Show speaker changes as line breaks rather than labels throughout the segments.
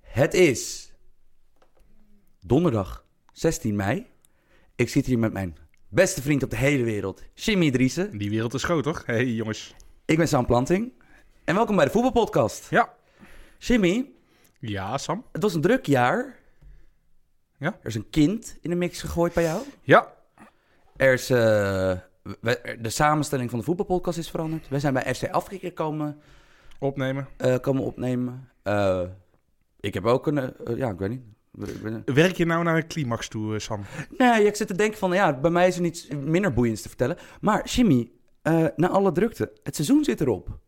Het is donderdag 16 mei. Ik zit hier met mijn beste vriend op de hele wereld, Jimmy Driessen.
Die wereld is groot, toch? hey, jongens.
Ik ben Sam Planting. En welkom bij de voetbalpodcast.
Ja.
Jimmy,
Ja, Sam.
het was een druk jaar.
Ja.
Er is een kind in de mix gegooid bij jou.
Ja.
Er is, eh, we- er- de samenstelling van de voetbalpodcast is veranderd. Wij zijn bij FC Afrika komen,
Opnemen.
eh, komen opnemen. Eh, ik heb ook een... eh, eh, ja, ik weet niet. Ik ben-
Werk je nou naar een climax toe, eh, Sam?
Nee, ik zit te denken van, ja, bij mij is er niets minder boeiends te vertellen. Maar Jimmy, eh, na alle drukte, het seizoen zit erop.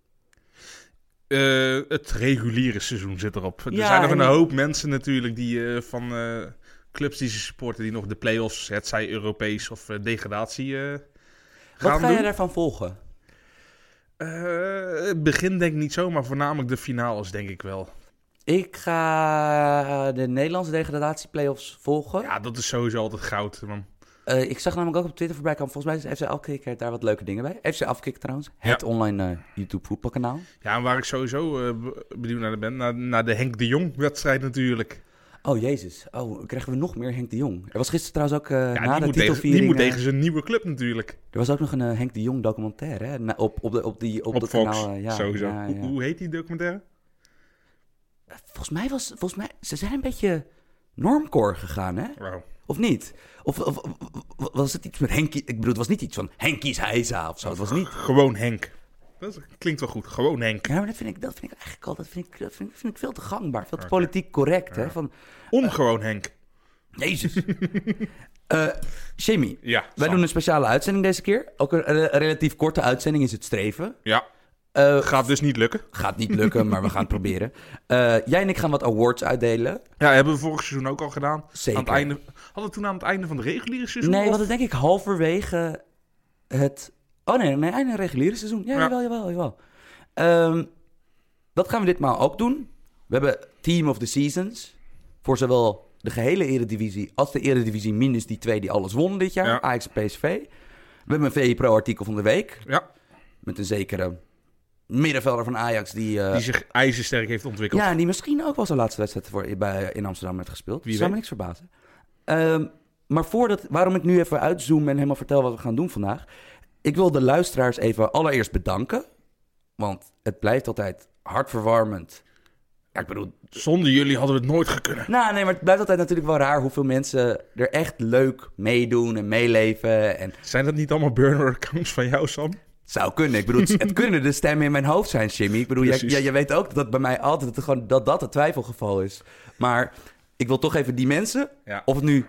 Eh, het reguliere seizoen zit erop. Er
Ja,
zijn nog een
en-
hoop mensen natuurlijk die eh, van eh, clubs die ze supporten... die nog de play-offs, het zij Europees of eh, degradatie, eh,
Wat
gaan
ga
doen.
je daarvan volgen?
Eh, het begin denk ik niet zo, maar voornamelijk de finales denk ik wel.
Ik ga de Nederlandse degradatieplayoffs volgen.
Ja, dat is sowieso altijd goud, man.
Eh, ik zag namelijk ook op Twitter voorbij komen. Volgens mij is FC Afkikker daar wat leuke dingen bij. FC Afkikker trouwens, het online eh, YouTube voetbalkanaal.
Ja, en waar ik sowieso eh, be- benieuwd naar ben, naar, naar de Henk de Jong-wedstrijd natuurlijk.
Oh jezus, oh, krijgen we nog meer Henk de Jong. Er was gisteren trouwens ook eh
Ja,
na
die,
de
moet tegen, die
titelviering...
moet
eh,
tegen zijn nieuwe club natuurlijk.
er was ook nog een eh, Henk de Jong documentaire hè, na- op, op, de, op, die, op,
Op,
dat
Fox,
kanaal. eh, ja,
sowieso.
ja,
Hoe,
ja.
hoe heet die documentaire?
Volgens mij was, volgens mij, ze zijn een beetje normcore gegaan, hè?
Wauw.
Of niet? Of, of- of- of- was het iets met Henkie? Ik bedoel, het was niet iets van Henkie's Heisa of zo. Het was niet.
Gewoon Henk. Dat is- klinkt wel goed. Gewoon Henk.
Ja, maar dat vind ik, dat vind ik eigenlijk al, dat vind ik, dat vind, ik- vind ik veel te gangbaar, veel te politiek correct, hè? Van,
Ongewoon Henk.
jezus. Eh Jimmy,
Ja.
wij
Sam.
doen een speciale uitzending deze keer. Ook een, eh, relatief korte uitzending is het streven.
Ja.
Eh,
Gaat dus niet lukken.
gaat niet lukken, maar we gaan het proberen. Eh, jij en ik gaan wat awards uitdelen.
Ja, hebben we vorig seizoen ook al gedaan.
Zeker.
Aan het einde, hadden we toen aan het einde van het reguliere seizoen?
Nee,
of-
want denk ik halverwege het... Oh nee, nee, einde reguliere seizoen. Ja,
Ja.
jawel, jawel, jawel. Ehm, dat gaan we ditmaal ook doen. We hebben Team of the Seasons. Voor zowel de gehele eredivisie als de eredivisie minus die twee die alles wonnen dit jaar.
Ja.
Ajax en PSV. We hebben een VE Pro artikel van de week.
Ja,
Met een zekere middenvelder van Ajax die... eh,
die zich ijzersterk heeft ontwikkeld.
ja, en die misschien ook wel zijn laatste wedstrijd voor, bij, in Amsterdam heeft gespeeld.
Wie
Zou me
weet.
niks verbazen. Ehm, maar voordat, waarom ik nu even uitzoom en helemaal vertel wat we gaan doen vandaag. Ik wil de luisteraars even allereerst bedanken. Want het blijft altijd hartverwarmend. Ja, ik bedoel,
Zonder jullie hadden we het nooit gekunnen.
nou, nee, maar het blijft altijd natuurlijk wel raar hoeveel mensen er echt leuk meedoen en meeleven. En het
Zijn dat niet allemaal burner-accounts van jou, Sam?
zou kunnen. Ik bedoel, het- het kunnen de stemmen in mijn hoofd zijn, Jimmy. Ik bedoel, jij,
Precies.
jij- jij weet ook dat dat bij mij altijd het gewoon, dat, dat het twijfelgeval is. Maar ik wil toch even die mensen,
Ja.
of het nu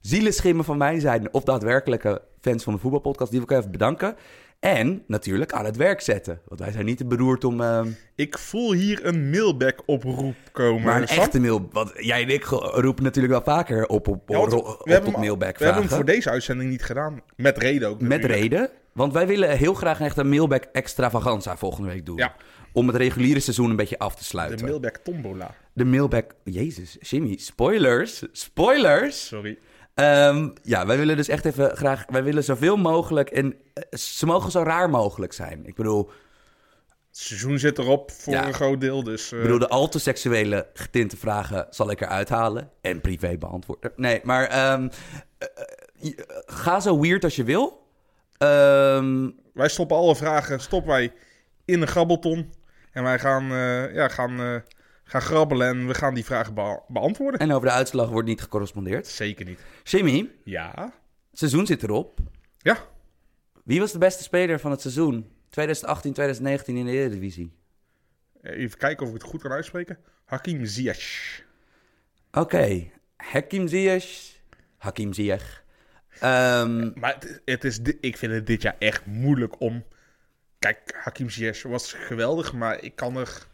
zielenschimmen van mij zijn... of daadwerkelijke fans van de voetbalpodcast, die wil ik even bedanken. En natuurlijk aan het werk zetten. Want wij zijn niet te beroerd om... ehm,
Ik voel hier een mailback-oproep komen.
maar een
Sam.
echte mail... Want jij en ik ge- roepen natuurlijk wel vaker op, op,
Ja, want
op, op,
we hebben
tot
hem-
mailback
We hebben hem
vragen.
voor deze uitzending niet gedaan. Met reden ook
Met
natuurlijk.
reden. Want wij willen heel graag echt een mailback extravaganza volgende week doen.
Ja.
Om het reguliere seizoen een beetje af te
De
sluiten.
mailback tombola.
De mailback... Jezus, Jimmy. Spoilers. Spoilers.
Sorry.
Ehm, ja, wij willen dus echt even graag... Wij willen zoveel mogelijk en eh, ze mogen zo raar mogelijk zijn. Ik bedoel,
Het seizoen zit erop voor
Ja.
een groot deel, dus... eh,
ik bedoel de al te seksuele getinte vragen zal ik eruit halen. En privé beantwoorden. Nee, maar ehm, eh, eh, ga zo weird als je wil. Ehm,
Wij stoppen alle vragen, stoppen wij in een grabbelton. En wij gaan, eh, ja, gaan, eh, gaan grabbelen en we gaan die vragen bea- beantwoorden.
en over de uitslag wordt niet gecorrespondeerd.
Zeker niet.
Jimmy,
Ja.
Het seizoen zit erop.
Ja.
Wie was de beste speler van het seizoen 2018-2019 in de Eredivisie?
Even kijken of ik het goed kan uitspreken. Hakim Ziyech.
Oké, Hakim Ziyech. Hakim Ziyech. Ehm,
Maar het, het is, di- ik vind het dit jaar echt moeilijk om... Kijk, Hakim Ziyech was geweldig, maar ik kan er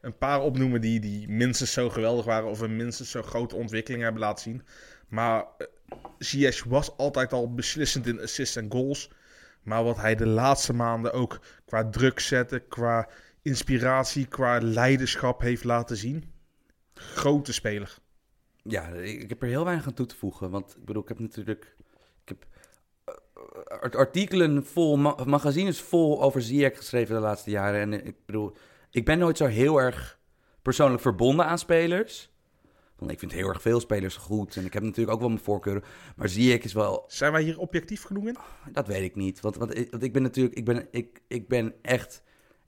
een paar opnoemen die, die minstens zo geweldig waren... of een minstens zo grote ontwikkeling hebben laten zien. Maar eh, Ziyech was altijd al beslissend in assists en goals. Maar wat hij de laatste maanden ook qua druk zetten, qua inspiratie, qua leiderschap heeft laten zien... Grote speler.
ja, ik, ik heb er heel weinig aan toe te voegen. Want ik bedoel, ik heb natuurlijk... Ik heb eh, art- artikelen vol, ma- magazines vol over Ziyech geschreven de laatste jaren. En eh, ik bedoel, ik ben nooit zo heel erg persoonlijk verbonden aan spelers. Want ik vind heel erg veel spelers goed. En ik heb natuurlijk ook wel mijn voorkeuren. Maar Ziyech is wel
Zijn wij hier objectief genoeg in?
Dat weet ik niet. Want, want, ik, want ik ben natuurlijk, ik ben, ik, ik ben echt,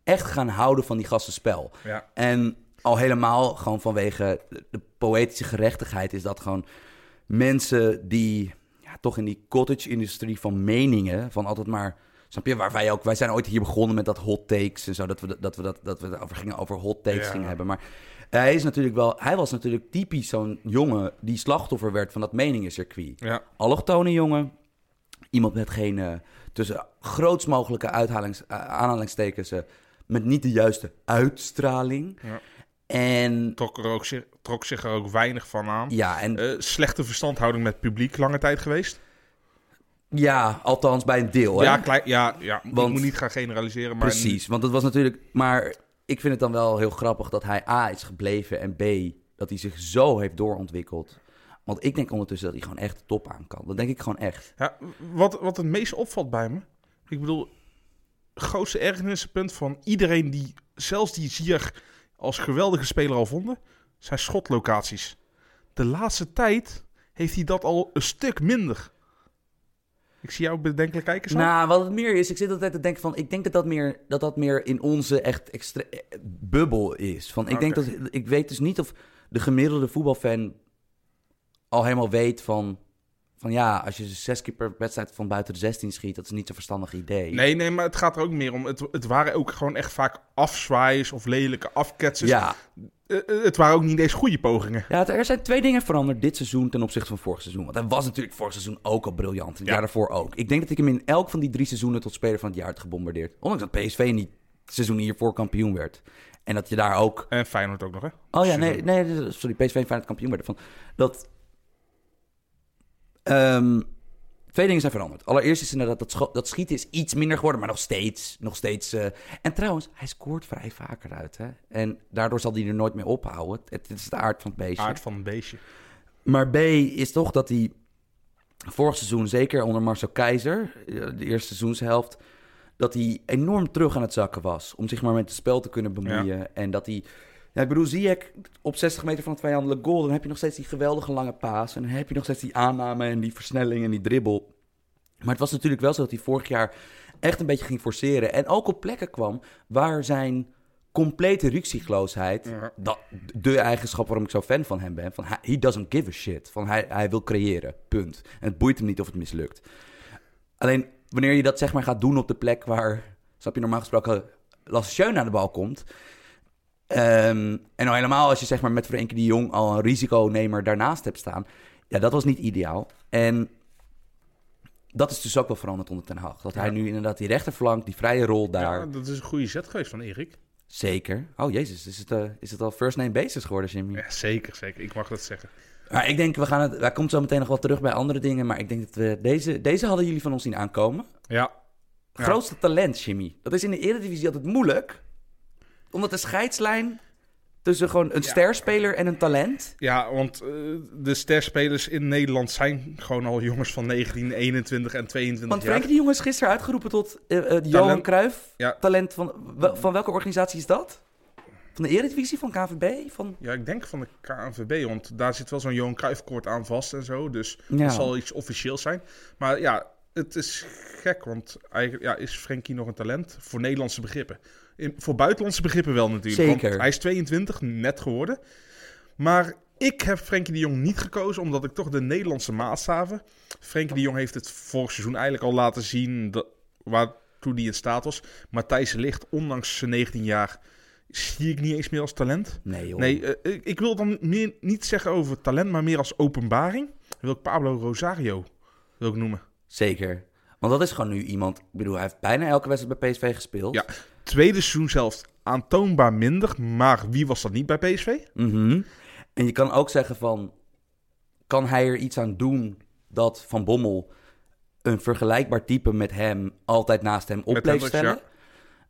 echt gaan houden van die gastenspel.
Ja.
En al helemaal gewoon vanwege de poëtische gerechtigheid is dat gewoon mensen die ja, toch in die cottage-industrie van meningen, van altijd maar, snap je, waar wij ook, wij zijn ooit hier begonnen met dat hot takes en zo, dat we dat, dat, we dat, dat we het over gingen over hot takes
Ja.
gingen hebben. Maar hij is natuurlijk wel, hij was natuurlijk typisch zo'n jongen die slachtoffer werd van dat meningencircuit
Ja.
allochtone jongen. Iemand met geen, eh, tussen grootst mogelijke uithalings, eh, aanhalingstekens, eh, met niet de juiste uitstraling.
Ja.
En
trok, er ook, zich- trok zich er ook weinig van aan.
ja, en,
Eh, slechte verstandhouding met publiek lange tijd geweest.
ja, althans bij een deel.
Ja,
Oh, hè?
klein, ja, ja
Want-
ik moet niet gaan generaliseren. Maar
Precies, want het was natuurlijk... Maar ik vind het dan wel heel grappig dat hij A is gebleven en B dat hij zich zo heeft doorontwikkeld. Want ik denk ondertussen dat hij gewoon echt de top aan kan. Dat denk ik gewoon echt.
Ja, wat, wat het meest opvalt bij me. Ik bedoel, grootste ergernispunt van iedereen die, zelfs die Zier als geweldige speler al vonden, zijn schotlocaties. De laatste tijd heeft hij dat al een stuk minder. Ik zie jou bedenkelijk kijken. Sam.
Nou, wat het meer is, ik zit altijd te denken van, ik denk dat dat meer, dat dat meer in onze echt extra eh, bubbel is. Van, ik denk dat,
Oké.
ik weet dus niet of de gemiddelde voetbalfan al helemaal weet van, van ja, als je zes keer per wedstrijd van buiten de 16 schiet, dat is niet zo'n verstandig idee.
Nee, nee, maar het gaat er ook meer om. Het, het waren ook gewoon echt vaak afzwaaiers of lelijke afketsers.
ja.
Eh, eh, het waren ook niet eens goede pogingen.
ja, het- er zijn twee dingen veranderd dit seizoen ten opzichte van vorig seizoen. Want hij was natuurlijk vorig seizoen ook al briljant. en Het
Ja.
jaar daarvoor ook. Ik denk dat ik hem in elk van die drie seizoenen tot speler van het jaar had gebombardeerd. Ondanks dat PSV niet het seizoen hiervoor kampioen werd. En dat je daar ook
En Feyenoord ook nog, hè?
Oh ja,
Super.
nee, nee, sorry, PSV en Feyenoord kampioen werden. Van, dat, Ehm, twee dingen zijn veranderd. Allereerst is inderdaad dat, scho- dat schieten is iets minder geworden, maar nog steeds. Nog steeds eh, en trouwens, hij scoort vrij vaker uit. Hè? En daardoor zal hij er nooit mee ophouden. Het, het is de aard van het beestje.
Aard van een beestje.
Maar B is toch dat hij vorig seizoen, zeker onder Marcel Keizer, eh, de eerste seizoenshelft, dat hij enorm terug aan het zakken was. Om zich maar met het spel te kunnen bemoeien. En dat hij. Ja, ik bedoel, Ziyech op 60 meter van het vijandelijk goal. Dan heb je nog steeds die geweldige lange paas. En dan heb je nog steeds die aanname en die versnelling en die dribbel. Maar het was natuurlijk wel zo dat hij vorig jaar echt een beetje ging forceren. En ook op plekken kwam waar zijn complete ruksigloosheid...
Ja.
dat- de eigenschap waarom ik zo fan van hem ben... van hij- he doesn't give a shit. Van hij, hij wil creëren, punt. En het boeit hem niet of het mislukt. Alleen wanneer je dat zeg maar gaat doen op de plek waar... snap je, normaal gesproken Lasse aan de bal komt... Ehm, en al helemaal als je zeg maar met Frenkie de Jong al een risiconemer daarnaast hebt staan. Ja, dat was niet ideaal. En dat is dus ook wel veranderd onder Ten Hag. Dat hij nu inderdaad die rechterflank, die vrije rol daar...
Ja, dat is een goede zet geweest van Erik.
Zeker. Oh jezus, is het, eh, is het al first name basis geworden, Jimmy?
Ja, zeker, zeker. Ik mag dat zeggen.
Maar ik denk, we gaan het... Wij komt zo meteen nog wel terug bij andere dingen. Maar ik denk dat we... Deze, deze hadden jullie van ons zien aankomen.
Ja. Ja.
Grootste talent, Jimmy. Dat is in de Eredivisie altijd moeilijk. Omdat de scheidslijn tussen gewoon een sterspeler en een talent...
Ja, want eh, de sterspelers in Nederland zijn gewoon al jongens van 19, 21 en 22
Want
jaar.
Frenkie de Jong is gisteren uitgeroepen tot eh, eh, Johan Cruijff.
Ja.
Talent van, wel- van welke organisatie is dat? Van de Eredivisie, van KVB? Van...
Ja, ik denk van de KNVB, want daar zit wel zo'n Johan Cruijffkoord aan vast en zo. Dus
Ja.
dat zal iets officieels zijn. Maar ja, het is gek, want eigenlijk ja, is Frenkie nog een talent voor Nederlandse begrippen. In, voor buitenlandse begrippen wel natuurlijk. want
Zeker.
hij is 22, net geworden. Maar ik heb Frenkie de Jong niet gekozen, omdat ik toch de Nederlandse maatstaven... Frenkie de Jong heeft het vorig seizoen eigenlijk al laten zien dat, waartoe hij in staat was. Matthijs de Ligt, ondanks zijn 19 jaar, zie ik niet eens meer als talent.
Nee, joh.
Nee, eh, ik, ik wil dan meer, niet zeggen over talent, maar meer als openbaring. Dan wil ik Pablo Rosario wil ik noemen.
Zeker. Want dat is gewoon nu iemand... Ik bedoel, hij heeft bijna elke wedstrijd bij PSV gespeeld.
Ja, tweede seizoen zelfs aantoonbaar minder. Maar wie was dat niet bij PSV?
Mhm. En je kan ook zeggen van... Kan hij er iets aan doen dat Van Bommel... een vergelijkbaar type met hem... altijd naast hem op
Met
bleef
Hendricks, ja.
stellen?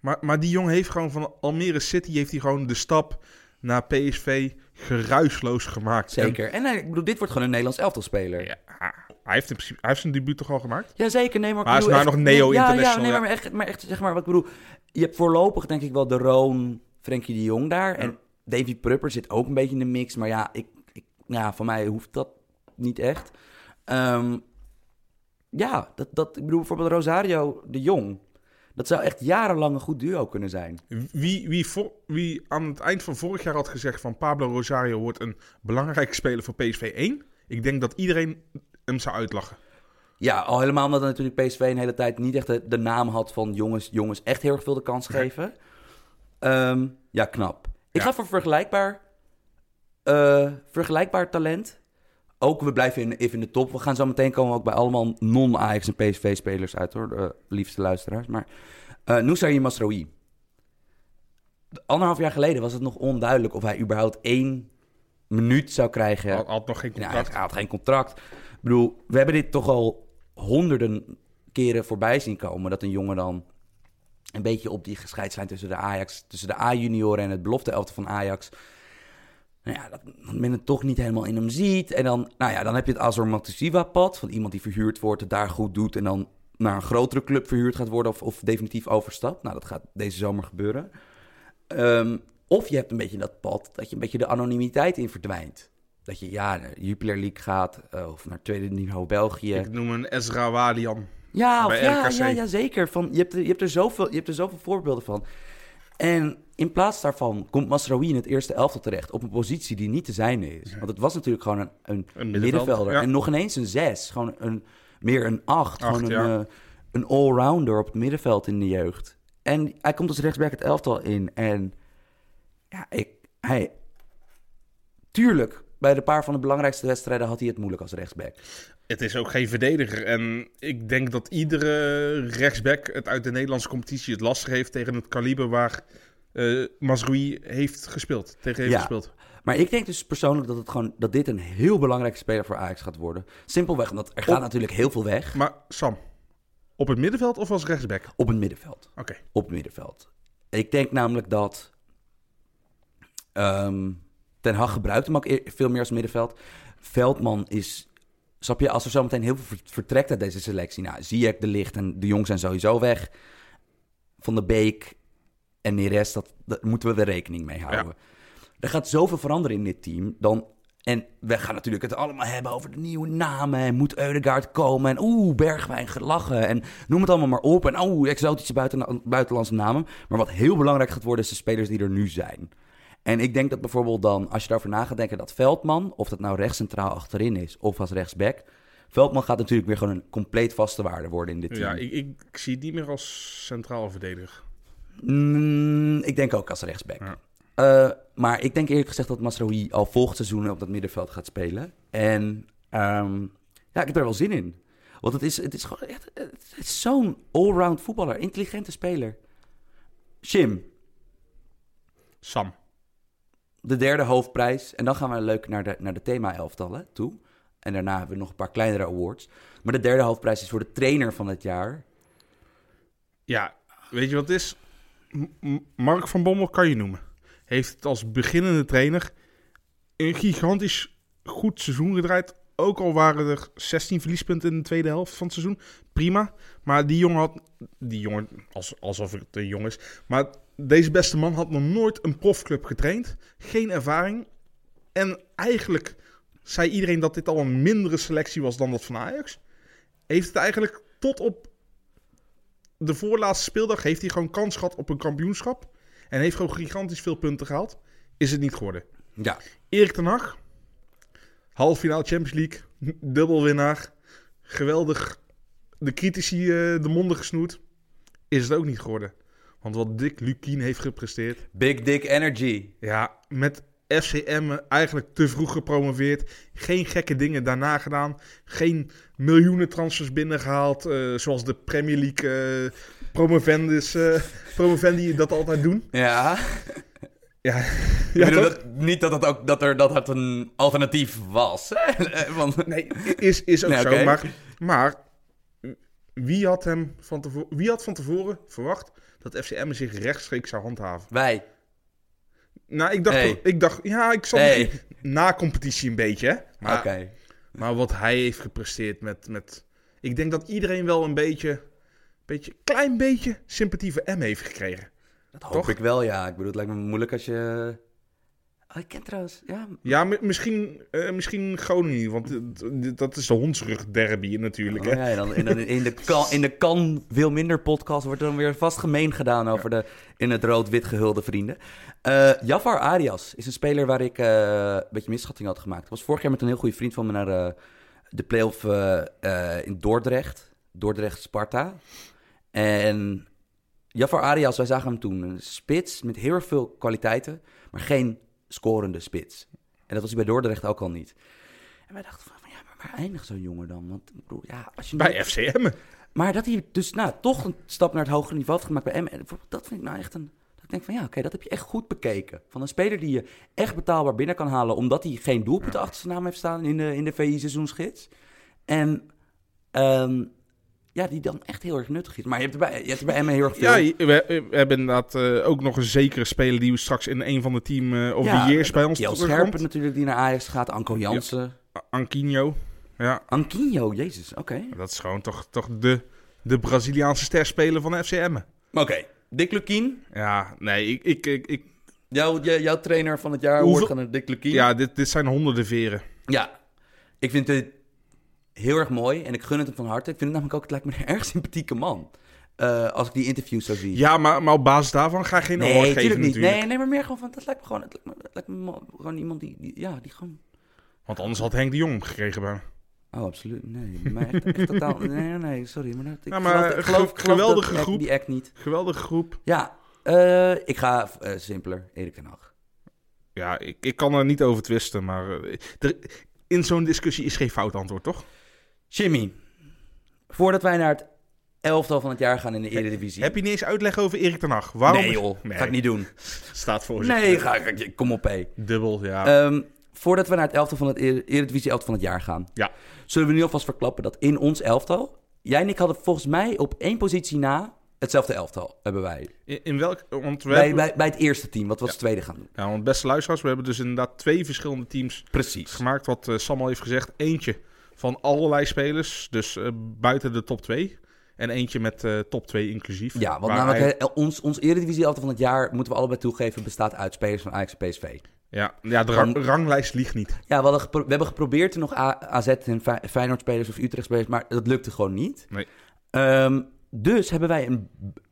Maar, maar die jongen heeft gewoon van Almere City heeft hij gewoon de stap naar PSV geruisloos gemaakt.
Zeker. En hij, ik bedoel, dit wordt gewoon een Nederlands elftalspeler.
En- ja, hij, heeft in principe, hij heeft zijn debuut toch al gemaakt?
Jazeker, nee, maar... ik
Maar hij is
bedoel
nou
echt-
nog Neo
nee, ja, Ja,
International,
nee,
ja.
maar echt, maar echt, zeg maar, wat ik bedoel... Je hebt voorlopig denk ik wel de Roon, Frenkie de Jong daar. En Davy Prupper zit ook een beetje in de mix. Maar ja, ik, ik, ja van mij hoeft dat niet echt. Ehm, ja, dat, dat, ik bedoel bijvoorbeeld Rosario de Jong. Dat zou echt jarenlang een goed duo kunnen zijn.
Wie, wie, voor, wie aan het eind van vorig jaar had gezegd van Pablo Rosario wordt een belangrijke speler voor PSV 1. Ik denk dat iedereen hem zou uitlachen.
Ja, al helemaal omdat natuurlijk PSV een hele tijd niet echt de, de naam had van jongens, jongens echt heel erg veel de kans geven. Ehm, ja, knap. Ik
Ja.
ga voor vergelijkbaar, eh, vergelijkbaar talent. Ook, we blijven in, even in de top. We gaan zo meteen komen ook bij allemaal non-Ajax en PSV-spelers uit, hoor. De liefste luisteraars. Maar eh Noussair Masraoui. Anderhalf jaar geleden was het nog onduidelijk of hij überhaupt één minuut zou krijgen.
Had, had nog geen
Ja,
contract.
hij had geen contract. Ik bedoel, we hebben dit toch al honderden keren voorbij zien komen. Dat een jongen dan een beetje op die gescheidslijn tussen de Ajax, tussen de A-junioren en het belofte elfte van Ajax. Nou ja, dat men het toch niet helemaal in hem ziet. En dan, nou ja, dan heb je het Azor Matusiwa-pad van iemand die verhuurd wordt, het daar goed doet en dan naar een grotere club verhuurd gaat worden of, of definitief overstapt. Nou, dat gaat deze zomer gebeuren. Ehm, of je hebt een beetje dat pad dat je een beetje de anonimiteit in verdwijnt. Dat je ja, naar Jupiler League gaat eh, of naar tweede niveau België.
Ik noem een Ezra Walian.
Ja, of
Bij
ja,
RKC.
ja, ja, zeker. Van, je, hebt er, je, hebt er zoveel, je hebt er zoveel voorbeelden van. En in plaats daarvan komt Masraoui in het eerste elftal terecht... op een positie die niet te zijn is. Want het was natuurlijk gewoon een, een
middenvelder,
middenvelder.
ja.
En nog ineens een zes. Gewoon een, meer een acht.
Acht,
gewoon een,
ja.
eh, een allrounder op het middenveld in de jeugd. En hij komt als rechtsback het elftal in. En ja, ik, hij... Tuurlijk, bij de paar van de belangrijkste wedstrijden... had hij het moeilijk als rechtsback.
Het is ook geen verdediger. En ik denk dat iedere rechtsback het uit de Nederlandse competitie het lastig heeft tegen het kaliber waar eh Mazrui heeft gespeeld. Tegen heeft
Ja.
gespeeld.
Maar ik denk dus persoonlijk dat, het gewoon, dat dit een heel belangrijke speler voor Ajax gaat worden. Simpelweg omdat er gaat
Op-
natuurlijk heel veel weg
Maar Sam, op het middenveld of als rechtsback? Oké.
op het middenveld. Op het middenveld. Ik denk namelijk dat ehm, Ten Hag gebruikt hem ook eer- veel meer als middenveld. Veldman is, snap je, als er zo meteen heel veel ver- vertrekt uit deze selectie. Nou, Ziyech, De Licht en De Jong zijn sowieso weg. Van de Beek en Neres, dat, daar moeten we er rekening mee houden. Er gaat zoveel veranderen in dit team. Dan, en we gaan natuurlijk het allemaal hebben over de nieuwe namen. En moet Eudegaard komen? En oeh, Bergwijn gelachen. En noem het allemaal maar op. En oeh, exotische buiten, buitenlandse namen. Maar wat heel belangrijk gaat worden, is de spelers die er nu zijn. En ik denk dat bijvoorbeeld dan, als je daarover na gaat denken, dat Veldman, of dat nou rechtscentraal achterin is of als rechtsback. Veldman gaat natuurlijk weer gewoon een compleet vaste waarde worden in dit team.
Ja, ik, ik, ik zie het niet meer als centraal verdediger.
Mm, ik denk ook als rechtsback.
Ja.
Eh, maar ik denk eerlijk gezegd dat Masraoui al volgend seizoen op dat middenveld gaat spelen. En ehm, ja, ik heb er wel zin in. Want het is, het is gewoon echt het is zo'n allround voetballer. Intelligente speler. Jim,
Sam.
de derde hoofdprijs. En dan gaan we leuk naar de, naar de thema-elftallen toe. En daarna hebben we nog een paar kleinere awards. Maar de derde hoofdprijs is voor de trainer van het jaar.
Ja, weet je wat het is? M- M- Mark van Bommel kan je noemen. Heeft het als beginnende trainer een gigantisch goed seizoen gedraaid. Ook al waren er 16 verliespunten in de tweede helft van het seizoen. Prima. Maar die jongen had... Die jongen, als, alsof het een jong is. Maar deze beste man had nog nooit een profclub getraind. Geen ervaring. En eigenlijk zei iedereen dat dit al een mindere selectie was dan dat van Ajax. Heeft het eigenlijk tot op de voorlaatste speeldag heeft hij gewoon kans gehad op een kampioenschap. En heeft gewoon gigantisch veel punten gehaald. Is het niet geworden.
Ja,
Erik ten Hag. Half finale Champions League. Dubbelwinnaar. Geweldig. De critici eh, de monden gesnoerd. Is het ook niet geworden. Want wat Dick Lukien heeft gepresteerd.
Big Dick Energy.
Ja, met FCM eigenlijk te vroeg gepromoveerd. Geen gekke dingen daarna gedaan. Geen miljoenen transfers binnengehaald. eh, zoals de Premier League eh promovendus, eh, promovendi dat altijd doen.
Ja,
Ja,
ik
ja
bedoel
toch?
dat, niet dat, dat, ook, dat, er, dat het een alternatief was. hè. Eh, Want,
Nee, is, is ook
Nee,
zo.
oké.
Maar, maar wie, had hem van tevoren, wie had van tevoren verwacht dat FCM zich rechtstreeks zou handhaven?
Wij.
Nou, ik dacht,
Hey.
ik dacht ja, ik zat
Hey. Ah.
misschien na competitie een beetje. hè.
Oké.
Maar, maar wat hij heeft gepresteerd met, met... Ik denk dat iedereen wel een beetje, beetje, klein beetje sympathie voor M heeft gekregen.
Dat hoop
toch?
ik wel, ja. Ik bedoel, het lijkt me moeilijk als je... Oh, ik ken trouwens... Ja,
Ja, mi- misschien, eh, misschien Groningen, want dit- dit- dat is de hondsrug derby natuurlijk.
Oh
Hè?
ja, en dan, en dan in, de kan, in de kan veel minder podcast wordt dan weer vast gemeen gedaan over de in het rood-wit gehulde vrienden. Eh Jafar Arias is een speler waar ik eh, een beetje misschatting had gemaakt. Ik was vorig jaar met een heel goede vriend van me naar eh, de playoff eh eh, in Dordrecht. Dordrecht-Sparta. En Jafar Arias, wij zagen hem toen. Een spits met heel erg veel kwaliteiten, maar geen scorende spits. En dat was hij bij Dordrecht ook al niet. En wij dachten van, ja, maar waar eindigt zo'n jongen dan? Want ik bedoel, ja, als je
Bij FCM.
maar dat hij dus nou, toch een stap naar het hogere niveau heeft gemaakt bij M. Dat vind ik nou echt een... Dat ik denk van ja, oké, dat heb je echt goed bekeken. Van een speler die je echt betaalbaar binnen kan halen... omdat hij geen doelpunten achter zijn naam heeft staan in de, in de VI-seizoensgids. En ehm, ja, die dan echt heel erg nuttig is. Maar je hebt er bij, je hebt er bij Emmen heel erg veel...
Ja, je- we, we hebben inderdaad eh, ook nog een zekere speler die we straks in een van de team eh of de years bij ons
Jel
terugkomt.
Scherpen natuurlijk, die naar Ajax gaat. Anko Jansen.
Anquinho. Ja,
Anquinho, jezus, oké.
dat is gewoon toch, toch de, de Braziliaanse sterspeler van FCM.
Maar oké, Dick Lukien.
Ja, nee, ik, ik, ik, ik-
Jouw, jouw trainer van het jaar
Hoeveel-
wordt gaan Dick Lukien.
ja dit, dit zijn honderden veren.
Ja, ik vind dit heel erg mooi en ik gun het hem van harte. Ik vind het namelijk ook, het lijkt me een erg sympathieke man. Eh, als ik die interviews zo zie.
Ja, maar, maar op basis daarvan ga je geen
nee,
award geven
tuurlijk niet.
natuurlijk.
Nee, nee, maar meer gewoon van, dat lijkt me gewoon, het lijkt me, het lijkt me mo- gewoon iemand die, die- ja, die gewoon...
Want anders had Henk de Jong hem gekregen bij hem.
Oh, absoluut. Nee, maar echt, echt totaal... Nee, nee, sorry. Maar, dat, ik
Ja, maar
geloof, ik geloof,
ge-
ik geloof
geweldige
dat act-
groep.
Die act niet.
Geweldige groep.
Ja, eh, ik ga eh, simpeler. Erik ten Hag.
Ja, ik, ik kan er niet over twisten, maar eh, er- in zo'n discussie is geen fout antwoord, toch?
Jimmy, voordat wij naar het elftal van het jaar gaan in de Eredivisie...
Heb je niet eens uitleg over Erik ten Hag? Waarom?
Nee joh,
Nee.
ga ik niet doen.
Staat voor zich.
Nee, ga, ik- kom op hé.
Dubbel, ja.
Ehm, voordat we naar het elftal van het Er- Eredivisie elftal van het jaar gaan,
ja.
zullen we nu alvast verklappen dat in ons elftal, jij en ik hadden volgens mij op één positie na hetzelfde elftal hebben wij.
In, in welk... Want we
Bij,
hebben-
bij, bij het eerste team, wat we als tweede gaan doen.
Ja, want beste luisteraars, we hebben dus inderdaad twee verschillende teams
Precies.
gemaakt. Wat eh, Sam al heeft gezegd. Eentje van allerlei spelers, dus eh, buiten de top 2. En eentje met eh, top 2 inclusief.
Ja, want
Waar
namelijk
hij-
eh, ons, ons Eredivisie elftal van het jaar, moeten we allebei toegeven, bestaat uit spelers van Ajax en PSV.
Ja, ja de rang-
Van-
ranglijst liegt niet.
Ja, we, hadden gepro- we hebben geprobeerd er nog A- AZ en Fey- Feyenoord-spelers of Utrecht-spelers, maar dat lukte gewoon niet.
Nee.
Ehm, dus hebben wij een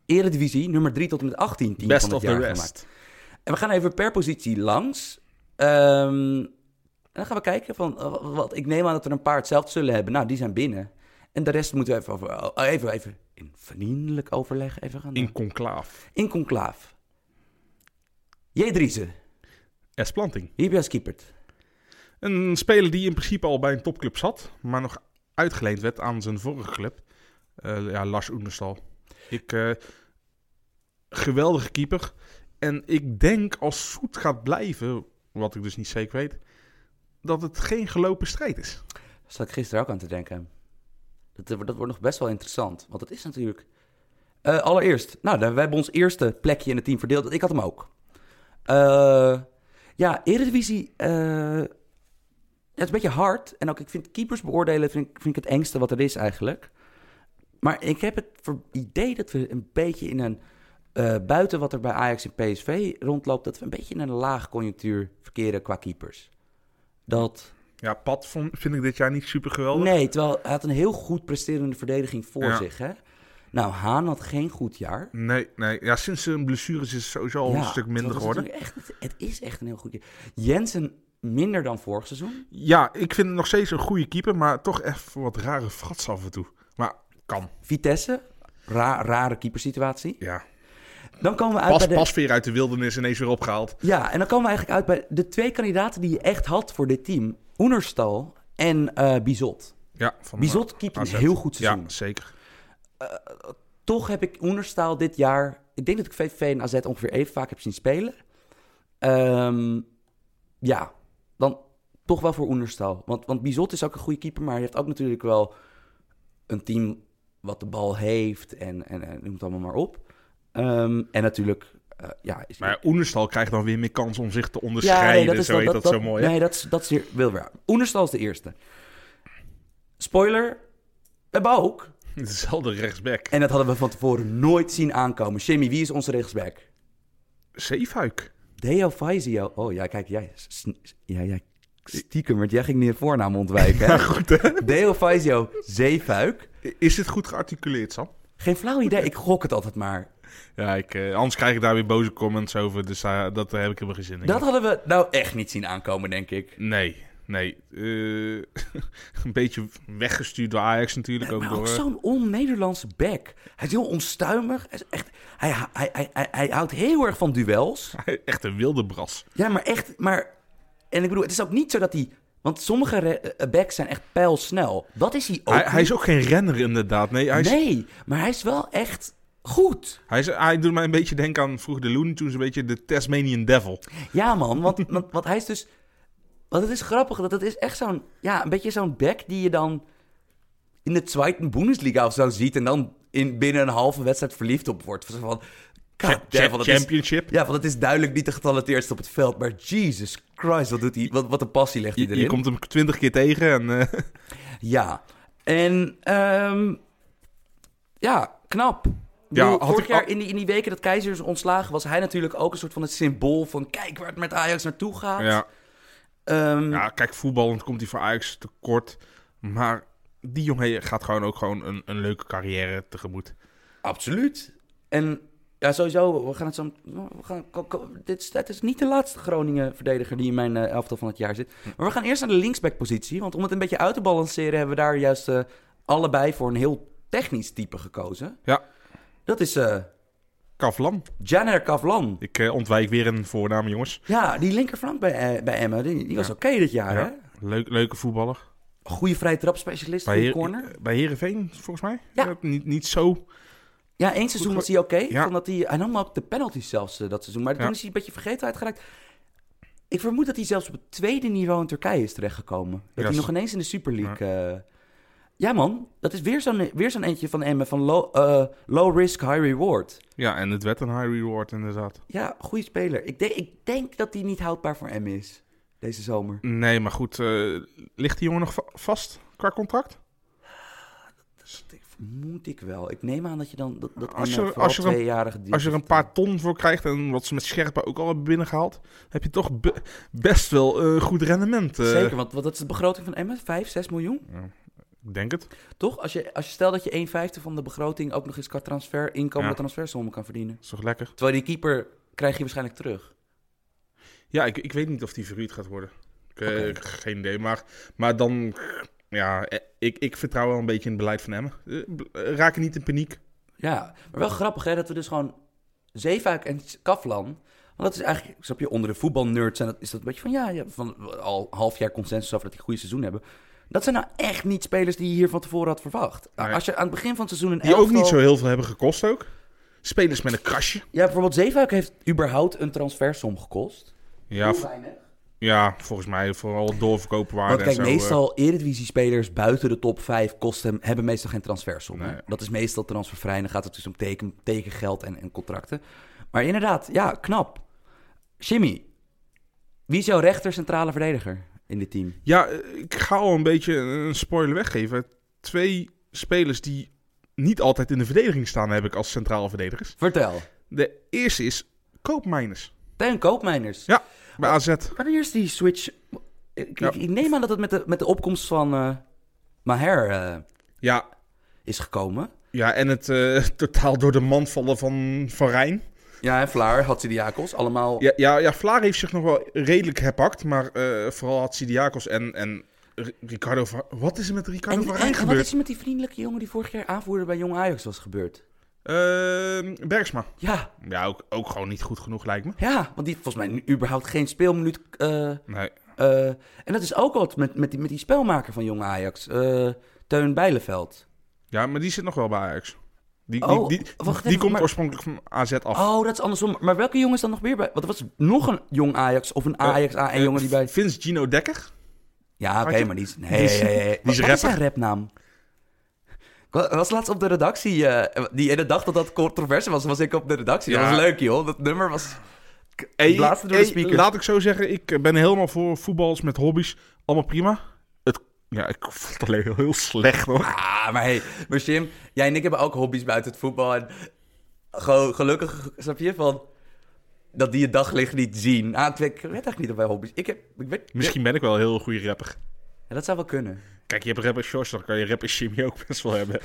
Eredivisie, nummer 3 tot en met 18 team
Best
van
of
het
the
jaar
rest.
gemaakt. En we gaan even per positie langs. Ehm, en dan gaan we kijken van, eh, wat, wat- ik neem aan dat er een paar hetzelfde zullen hebben. Nou, die zijn binnen. En de rest moeten we even, over, oh, even, even in vriendelijk overleg even gaan.
In conclaaf.
in conclaaf. J. Driessen,
Esplanting.
wie heb je als keeper?
Een speler die in principe al bij een topclub zat, maar nog uitgeleend werd aan zijn vorige club. Eh, ja, Lars Oenerstal. Ik, eh, geweldige keeper. En ik denk als Soet gaat blijven, wat ik dus niet zeker weet, dat het geen gelopen strijd is.
Daar zat ik gisteren ook aan te denken. Dat, eh, dat wordt nog best wel interessant. Want dat is natuurlijk. Eh, allereerst, nou, we hebben ons eerste plekje in het team verdeeld. Ik had hem ook. Eh, ja, Eredivisie. eh het is een beetje hard. En ook, ik vind keepers beoordelen vind ik, vind ik het engste wat er is eigenlijk. Maar ik heb het ver- idee dat we een beetje in een. eh, buiten wat er bij Ajax en PSV rondloopt, dat we een beetje in een laag conjunctuur verkeren qua keepers. Dat.
Ja, Pat vond- vind ik dit jaar niet super geweldig.
Nee, terwijl hij had een heel goed presterende verdediging voor
Ja.
zich. Hè? Nou, Haan had geen goed jaar.
Nee, nee. Ja, sinds zijn blessures is het sowieso al
Ja,
Oh, een stuk minder
terwijl
geworden.
het is natuurlijk Echt, het is echt een heel goed jaar. Jensen minder dan vorig seizoen.
Ja, ik vind hem nog steeds een goede keeper, maar toch even wat rare frats af en toe. Maar kan,
Vitesse, ra- rare keepersituatie.
ja.
Dan komen we uit
Pas,
bij de...
pas weer uit de wildernis ineens weer opgehaald.
Ja, en dan komen we eigenlijk uit bij de twee kandidaten die je echt had voor dit team. Oenerstal en eh, Bizot.
Ja, van eh,
Bizot keept een
AZ.
heel goed seizoen.
Ja, zeker.
Toch heb ik Oenerstal dit jaar... Ik denk dat ik VVV en AZ ongeveer even vaak heb zien spelen. Ehm, ja, dan toch wel voor Oenerstal. Want, want Bizot is ook een goede keeper, maar je hebt ook natuurlijk wel een team wat de bal heeft en, en, en noem het allemaal maar op. Ehm, en natuurlijk, eh, ja... Is
Maar ja, Oenerstal krijgt dan weer meer kans om zich te
Ja,
onderscheiden.
nee, dat is
zo
wel-
heet dat, zo mooi. hè?
Nee, dat is, dat is hier, wil weer. Oenerstal is de eerste. Spoiler, we hebben ook,
Hetzelfde rechtsback.
en dat hadden we van tevoren nooit zien aankomen. Jimmy, wie is onze rechtsback?
Zeefuik.
Deo Faizio. Oh ja, kijk, jij, sn- ja, jij stiekem, want jij ging niet de voornaam ontwijken. hè?
Goed, hè?
Deo Faizio, zeefuik.
Is dit goed gearticuleerd, Sam?
Geen flauw idee, ik gok het altijd maar.
Ja, ik, eh, anders krijg ik daar weer boze comments over. Dus daar- dat daar heb ik helemaal geen zin in.
Dat hadden we nou echt niet zien aankomen, denk ik.
Nee, nee. Eh, een beetje weggestuurd door Ajax natuurlijk. Ook
Maar ook
door,
zo'n on-Nederlandse back. Hij is heel onstuimig. Hij, is echt, hij, hij, hij, hij, hij houdt heel erg van duels.
eh, Echt een wilde bras.
Ja, maar echt, maar... En ik bedoel, het is ook niet zo dat hij... Want sommige re- eh, backs zijn echt pijlsnel. Dat is hij ook
Hij, hij
niet.
is ook geen renner inderdaad. Nee, hij, is-
Nee, maar hij is wel echt goed.
hij, is, hij doet mij een beetje denken aan vroeger de Looney Tunes. Een beetje de Tasmanian Devil.
Ja, man, want, want, want hij is dus... Want het is grappig, dat het is echt zo'n... Ja, een beetje zo'n back die je dan in de Zweite Bundesliga of zo ziet... en dan in, binnen een halve wedstrijd verliefd op wordt. Zo Van, God
Cha-
damn, dat is,
championship.
ja, want het is duidelijk niet de getalenteerdste op het veld... maar Jesus Christ, wat, doet hij, wat, wat een passie legt hij
Je,
erin.
je komt hem twintig keer tegen en eh,
Ja. En ehm, ja, knap.
Ja,
Ja,
had
Vorig
ik
jaar
al-
in die, in die weken dat Keizers ontslagen was hij natuurlijk ook een soort van het symbool van kijk waar het met Ajax naartoe gaat.
ja.
Ehm,
Ja, kijk, voetballend komt hij voor Ajax tekort. Maar die jongen gaat gewoon ook gewoon een, een leuke carrière tegemoet.
Absoluut. En ja, sowieso, we gaan het zo. We gaan, ko- ko- dit, is, dit is niet de laatste Groningen-verdediger die in mijn eh, elftal van het jaar zit. Maar we gaan eerst naar de linksback-positie. Want om het een beetje uit te balanceren, hebben we daar juist eh, allebei voor een heel technisch type gekozen.
Ja.
Dat is eh
Kavlan.
Janer Kavlan.
Ik eh, ontwijk weer een voornaam, jongens.
Ja, die linkerflank bij, eh, bij Emmen, die, die was oké dit jaar, hè?
Leuk, leuke voetballer.
Goede vrije trapspecialist,
Bij,
goede
Heer-
corner.
bij Heerenveen, volgens mij.
Ja.
Dat Niet, niet zo.
Ja, één seizoen was hij oké.
Ja.
omdat Hij, hij nam ook de penalties zelfs eh, dat seizoen. Maar
Ja.
toen is hij een beetje vergeten uitgeraakt. Ik vermoed dat hij zelfs op het tweede niveau in Turkije is terechtgekomen. Dat
Ja,
hij nog
zo-
ineens in de Super League... eh, Ja, man, dat is weer zo'n, weer zo'n eentje van Emmen van low, eh, low risk, high reward.
Ja, en het werd een high reward, inderdaad.
Ja, goede speler. Ik, denk- ik denk dat hij niet houdbaar voor Emmen is deze zomer.
Nee, maar goed. eh, ligt die jongen nog va- vast qua contract?
Dat vermoed ik wel. Ik neem aan dat je dan dat, dat
Als
Emmen
je-
vooral
als je er een-
tweejarige
Als je er een
deals-
paar ton voor krijgt en wat ze met Scherpen ook al hebben binnengehaald, heb je toch be- best wel eh, goed rendement. eh.
Zeker, want, want dat is de begroting van Emmen, 5, 6 miljoen.
Ik denk het.
Toch? Als je, als je stelt dat je 1,50 van de begroting ook nog eens qua transfer, inkomen
Ja.
transfersommen kan verdienen.
Is toch lekker?
Terwijl die keeper krijg je waarschijnlijk terug.
Ja, ik, ik weet niet of die verhuurd gaat worden. Ik, eh,
Oké.
ik- geen idee. Maar, maar dan, ja, eh, ik, ik vertrouw wel een beetje in het beleid van Emmen. Eh, b- eh, Raak niet in paniek.
Ja, maar wel grappig hè, dat we dus gewoon Zeefuik en Kaflan... Want dat is eigenlijk, snap je, onder de voetbalnerds zijn dat, is dat een beetje van... Ja, ja van al een half jaar consensus over dat die een goede seizoen hebben. Dat zijn nou echt niet spelers die je hier van tevoren had verwacht. Nou,
Nee.
Als je aan het begin van het seizoen een
Die ook niet
elftal-
zo heel veel hebben gekost ook. Spelers met een krasje.
Ja, bijvoorbeeld Zeefuik heeft überhaupt een transfersom gekost.
Ja, vo- ja, volgens mij vooral doorverkopen waren
Want kijk,
en zo. eh.
meestal Eredivisie-spelers buiten de top 5 kosten, hebben meestal geen transfersom. hè?
Nee.
Dat is meestal transfervrij en dan gaat het dus om teken, tekengeld en, en contracten. Maar inderdaad, ja, knap. Jimmy, wie is jouw rechter centrale verdediger in dit team?
Ja, eh, ik ga al een beetje een spoiler weggeven. Twee spelers die niet altijd in de verdediging staan, heb ik als centraal verdedigers.
Vertel.
De eerste is Koopmijners.
Teun Koopmeiners.
Ja, bij
Oh.
AZ.
Wanneer is die switch... Ik,
Ja.
ik neem aan dat het met de, met de opkomst van eh, Maher eh,
Ja,
is gekomen.
Ja, en het eh, totaal door de mand vallen van Van Rijn.
Ja, en Vlaar, Hatsidiakos, allemaal...
Ja, ja, ja Vlaar heeft zich nog wel redelijk herpakt. Maar eh, vooral had Sidiakos en, en R- Ricardo van... Wat is er met Ricardo
En,
van
en-
Rijn
en wat
gebeurd?
is er met die vriendelijke jongen die vorig jaar aanvoerder bij Jong Ajax was gebeurd?
Ehm, Bergsma.
Ja,
Ja, ook, ook gewoon niet goed genoeg lijkt me.
ja, want die heeft volgens mij nu überhaupt geen speelminuut. eh,
Nee.
eh, en dat is ook wat met, met, die, met die spelmaker van jonge Ajax, eh, Teun Bijleveld.
Ja, maar die zit nog wel bij Ajax. Die,
Oh,
die, die,
wacht
die
even,
komt
maar-
oorspronkelijk van AZ af.
Oh, dat is andersom. Maar welke jongen is dan nog weer bij? Want er was nog een jong Ajax of een Ajax A1 jongen die bij...
Eh, Vince Gino Dekker?
Ja, oké,
Had je-
maar die is... Nee,
die is-
nee, nee.
die is
Wat- Wat is zijn
rapper.
rapnaam? Ik wa- was laatst op de redactie... eh, die ene dag dat dat controverse was, was ik op de redactie. Dat
Ja.
was leuk, joh. Dat nummer was...
Hey,
Blazen door de speakers.
Laat ik zo zeggen, ik ben helemaal voor voetballers met hobby's. Allemaal prima. Het, ja, ik vond het alleen heel, heel slecht hoor.
Ah, maar hey, maar Jim, jij en ik hebben ook hobby's buiten het voetbal. En gewoon gelukkig, snap je, van... Dat die het daglicht niet zien. Ah, ik weet ik weet eigenlijk niet of wij hobby's... Ik heb... Ik weet,
Misschien ben ik wel een heel goede rapper.
Ja, dat zou wel kunnen.
Kijk, je hebt rapper Shorts, dan kan je rapper Jimmy ook best wel hebben.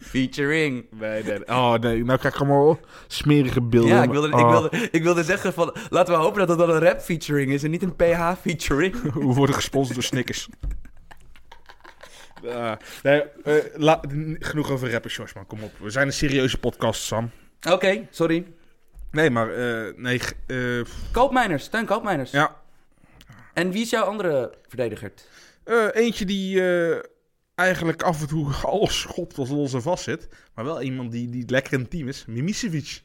Featuring.
Nee, nee. Oh nee, nou krijg ik allemaal smerige beelden.
Ja, ik wilde, ik,
Oh,
wilde, ik wilde zeggen van... Laten we hopen dat dat dan een rap featuring is en niet een PH featuring.
We worden gesponsord door Snickers. Ah, nee, eh, la- n- genoeg over rapper Shorts, man. Kom op. We zijn een serieuze podcast, Sam.
Oké, sorry.
Nee, maar... eh, nee, g- eh,
Koopmijners, Steun Koopmijners.
ja,
En wie is jouw andere verdediger?
Eh, eentje die eh, eigenlijk af en toe alles schopt wat los en vast zit. Maar wel iemand die, die lekker in het team is. Mimicevic.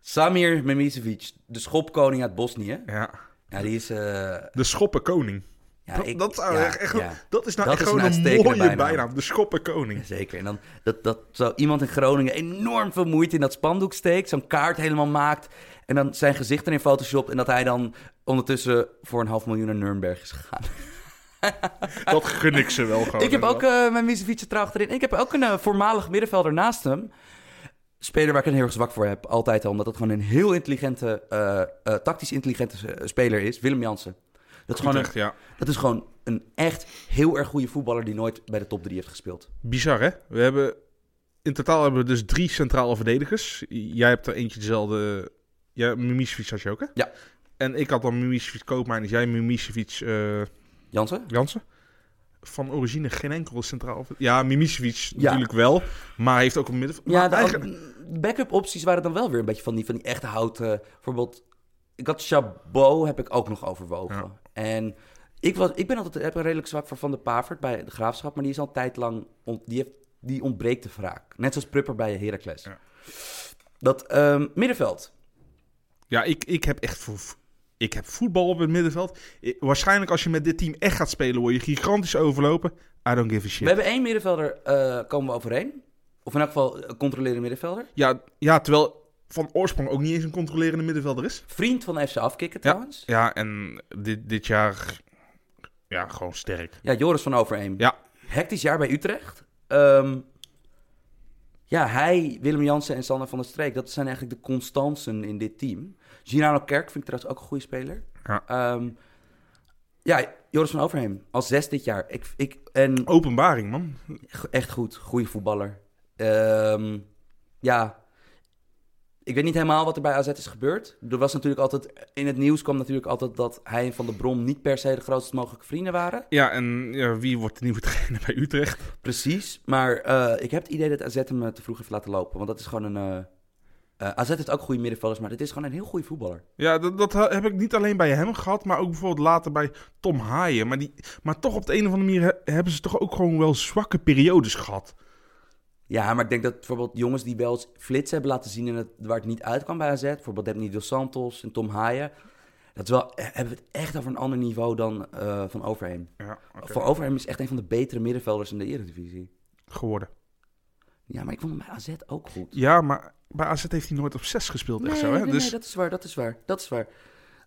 Samir Memisevic, de schopkoning uit Bosnië.
Ja.
Ja, die is... eh,
De schoppenkoning.
ja,
dat,
ik-
dat, zou
ja,
echt, echt-
ja,
dat is nou
Dat
echt
is een
gewoon een,
uitstekende
mooie bijnaam.
bijnaam.
De schoppenkoning.
Zeker. En dan dat, dat zo iemand in Groningen enorm veel moeite in dat spandoek steekt. Zo'n kaart helemaal maakt. En dan zijn gezicht erin photoshopt. En dat hij dan ondertussen voor een half miljoen naar Nuremberg is gegaan.
Dat gun ik ze Oh, wel gewoon.
Ik heb ook eh, mijn Misevic er achterin. En Ik heb ook een eh, voormalig middenvelder naast hem. Speler waar ik een heel erg zwak voor heb, altijd al. Omdat het gewoon een heel intelligente, eh, eh, tactisch intelligente eh, speler is. Willem Jansen. Dat is, gewoon een,
Utrecht, ja.
dat is gewoon een echt heel erg goede voetballer die nooit bij de top 3 heeft gespeeld.
Bizar, hè? We hebben... In totaal hebben we dus drie centrale verdedigers. Jij hebt er eentje dezelfde... Ja, Mimicevic had je ook, hè?
Ja.
En ik had dan Mimicevic Koopmijn. Dus jij Mimicevic... eh,
Jansen?
Jansen? Van origine geen enkele centraal... Ja, Mimicevic
Ja.
natuurlijk wel. Maar hij heeft ook een midden...
Ja,
maar
de
eigenlijk-
an- backup opties waren dan wel weer een beetje van die, van die echte houten. Bijvoorbeeld, ik had Chabot, heb ik ook nog overwogen.
Ja.
En ik, was, ik ben altijd heb een redelijk zwak voor Van de Pavert bij de Graafschap, maar die is al een tijd lang, ont- die, heeft, die ontbreekt de wraak. Net zoals Prupper bij Heracles.
Ja.
Dat ehm, middenveld.
Ja, ik, ik heb echt... Voor, ik heb voetbal op het middenveld. I- waarschijnlijk als je met dit team echt gaat spelen... word je gigantisch overlopen. I don't give a
We
shit.
hebben één middenvelder, eh, komen we overeen. Of in elk geval eh, controlerende middenvelder.
Ja, ja, terwijl van oorsprong ook niet eens een controlerende middenvelder is.
Vriend van FC Afkikken trouwens. Ja.
Ja, en dit, dit jaar... Ja, gewoon sterk.
Joris van Overeem.
Ja.
Hectisch jaar bij Utrecht. Ehm, ja, hij, Willem Jansen en Sander van der Streek, dat zijn eigenlijk de constanten in dit team. Girano Kerk vind ik trouwens ook een goede speler.
Ja.
Ehm, ja, Joris van Overheem, als zes dit jaar. Ik, ik, en
Oh. Openbaring, man.
g- echt goed, goede voetballer. Ehm, ja, ik weet niet helemaal wat er bij AZ is gebeurd. Er was natuurlijk altijd, in het nieuws kwam natuurlijk altijd dat hij en Van der Brom niet per se de grootst mogelijke vrienden waren.
Ja, en ja, wie wordt de nieuwe trainer bij Utrecht?
Precies, maar eh, ik heb het idee dat AZ hem eh, te vroeg heeft laten lopen. Want dat is gewoon een... eh, eh, AZ heeft ook goede middenvelders, maar dit is gewoon een heel goede voetballer.
Ja, dat, dat heb ik niet alleen bij hem gehad, maar ook bijvoorbeeld later bij Tom Haaien. Maar, die, maar toch op de een of andere manier he- hebben ze toch ook gewoon wel zwakke periodes gehad.
Ja, maar ik denk dat bijvoorbeeld jongens die wel eens flits hebben laten zien... En het, waar het niet uitkwam bij AZ, bijvoorbeeld Debny Dos Santos en Tom Haaien... Dat is wel, eh, hebben we het echt over een ander niveau dan eh, Van Overheem.
Ja, oké.
Van Overheem is echt een van de betere middenvelders in de Eredivisie.
geworden.
Ja, maar ik vond hem bij AZ ook goed.
Ja, maar bij AZ heeft hij nooit op 6 gespeeld, echt zo. Hè?
nee,
dus
nee, dat is waar, dat is waar, dat is waar.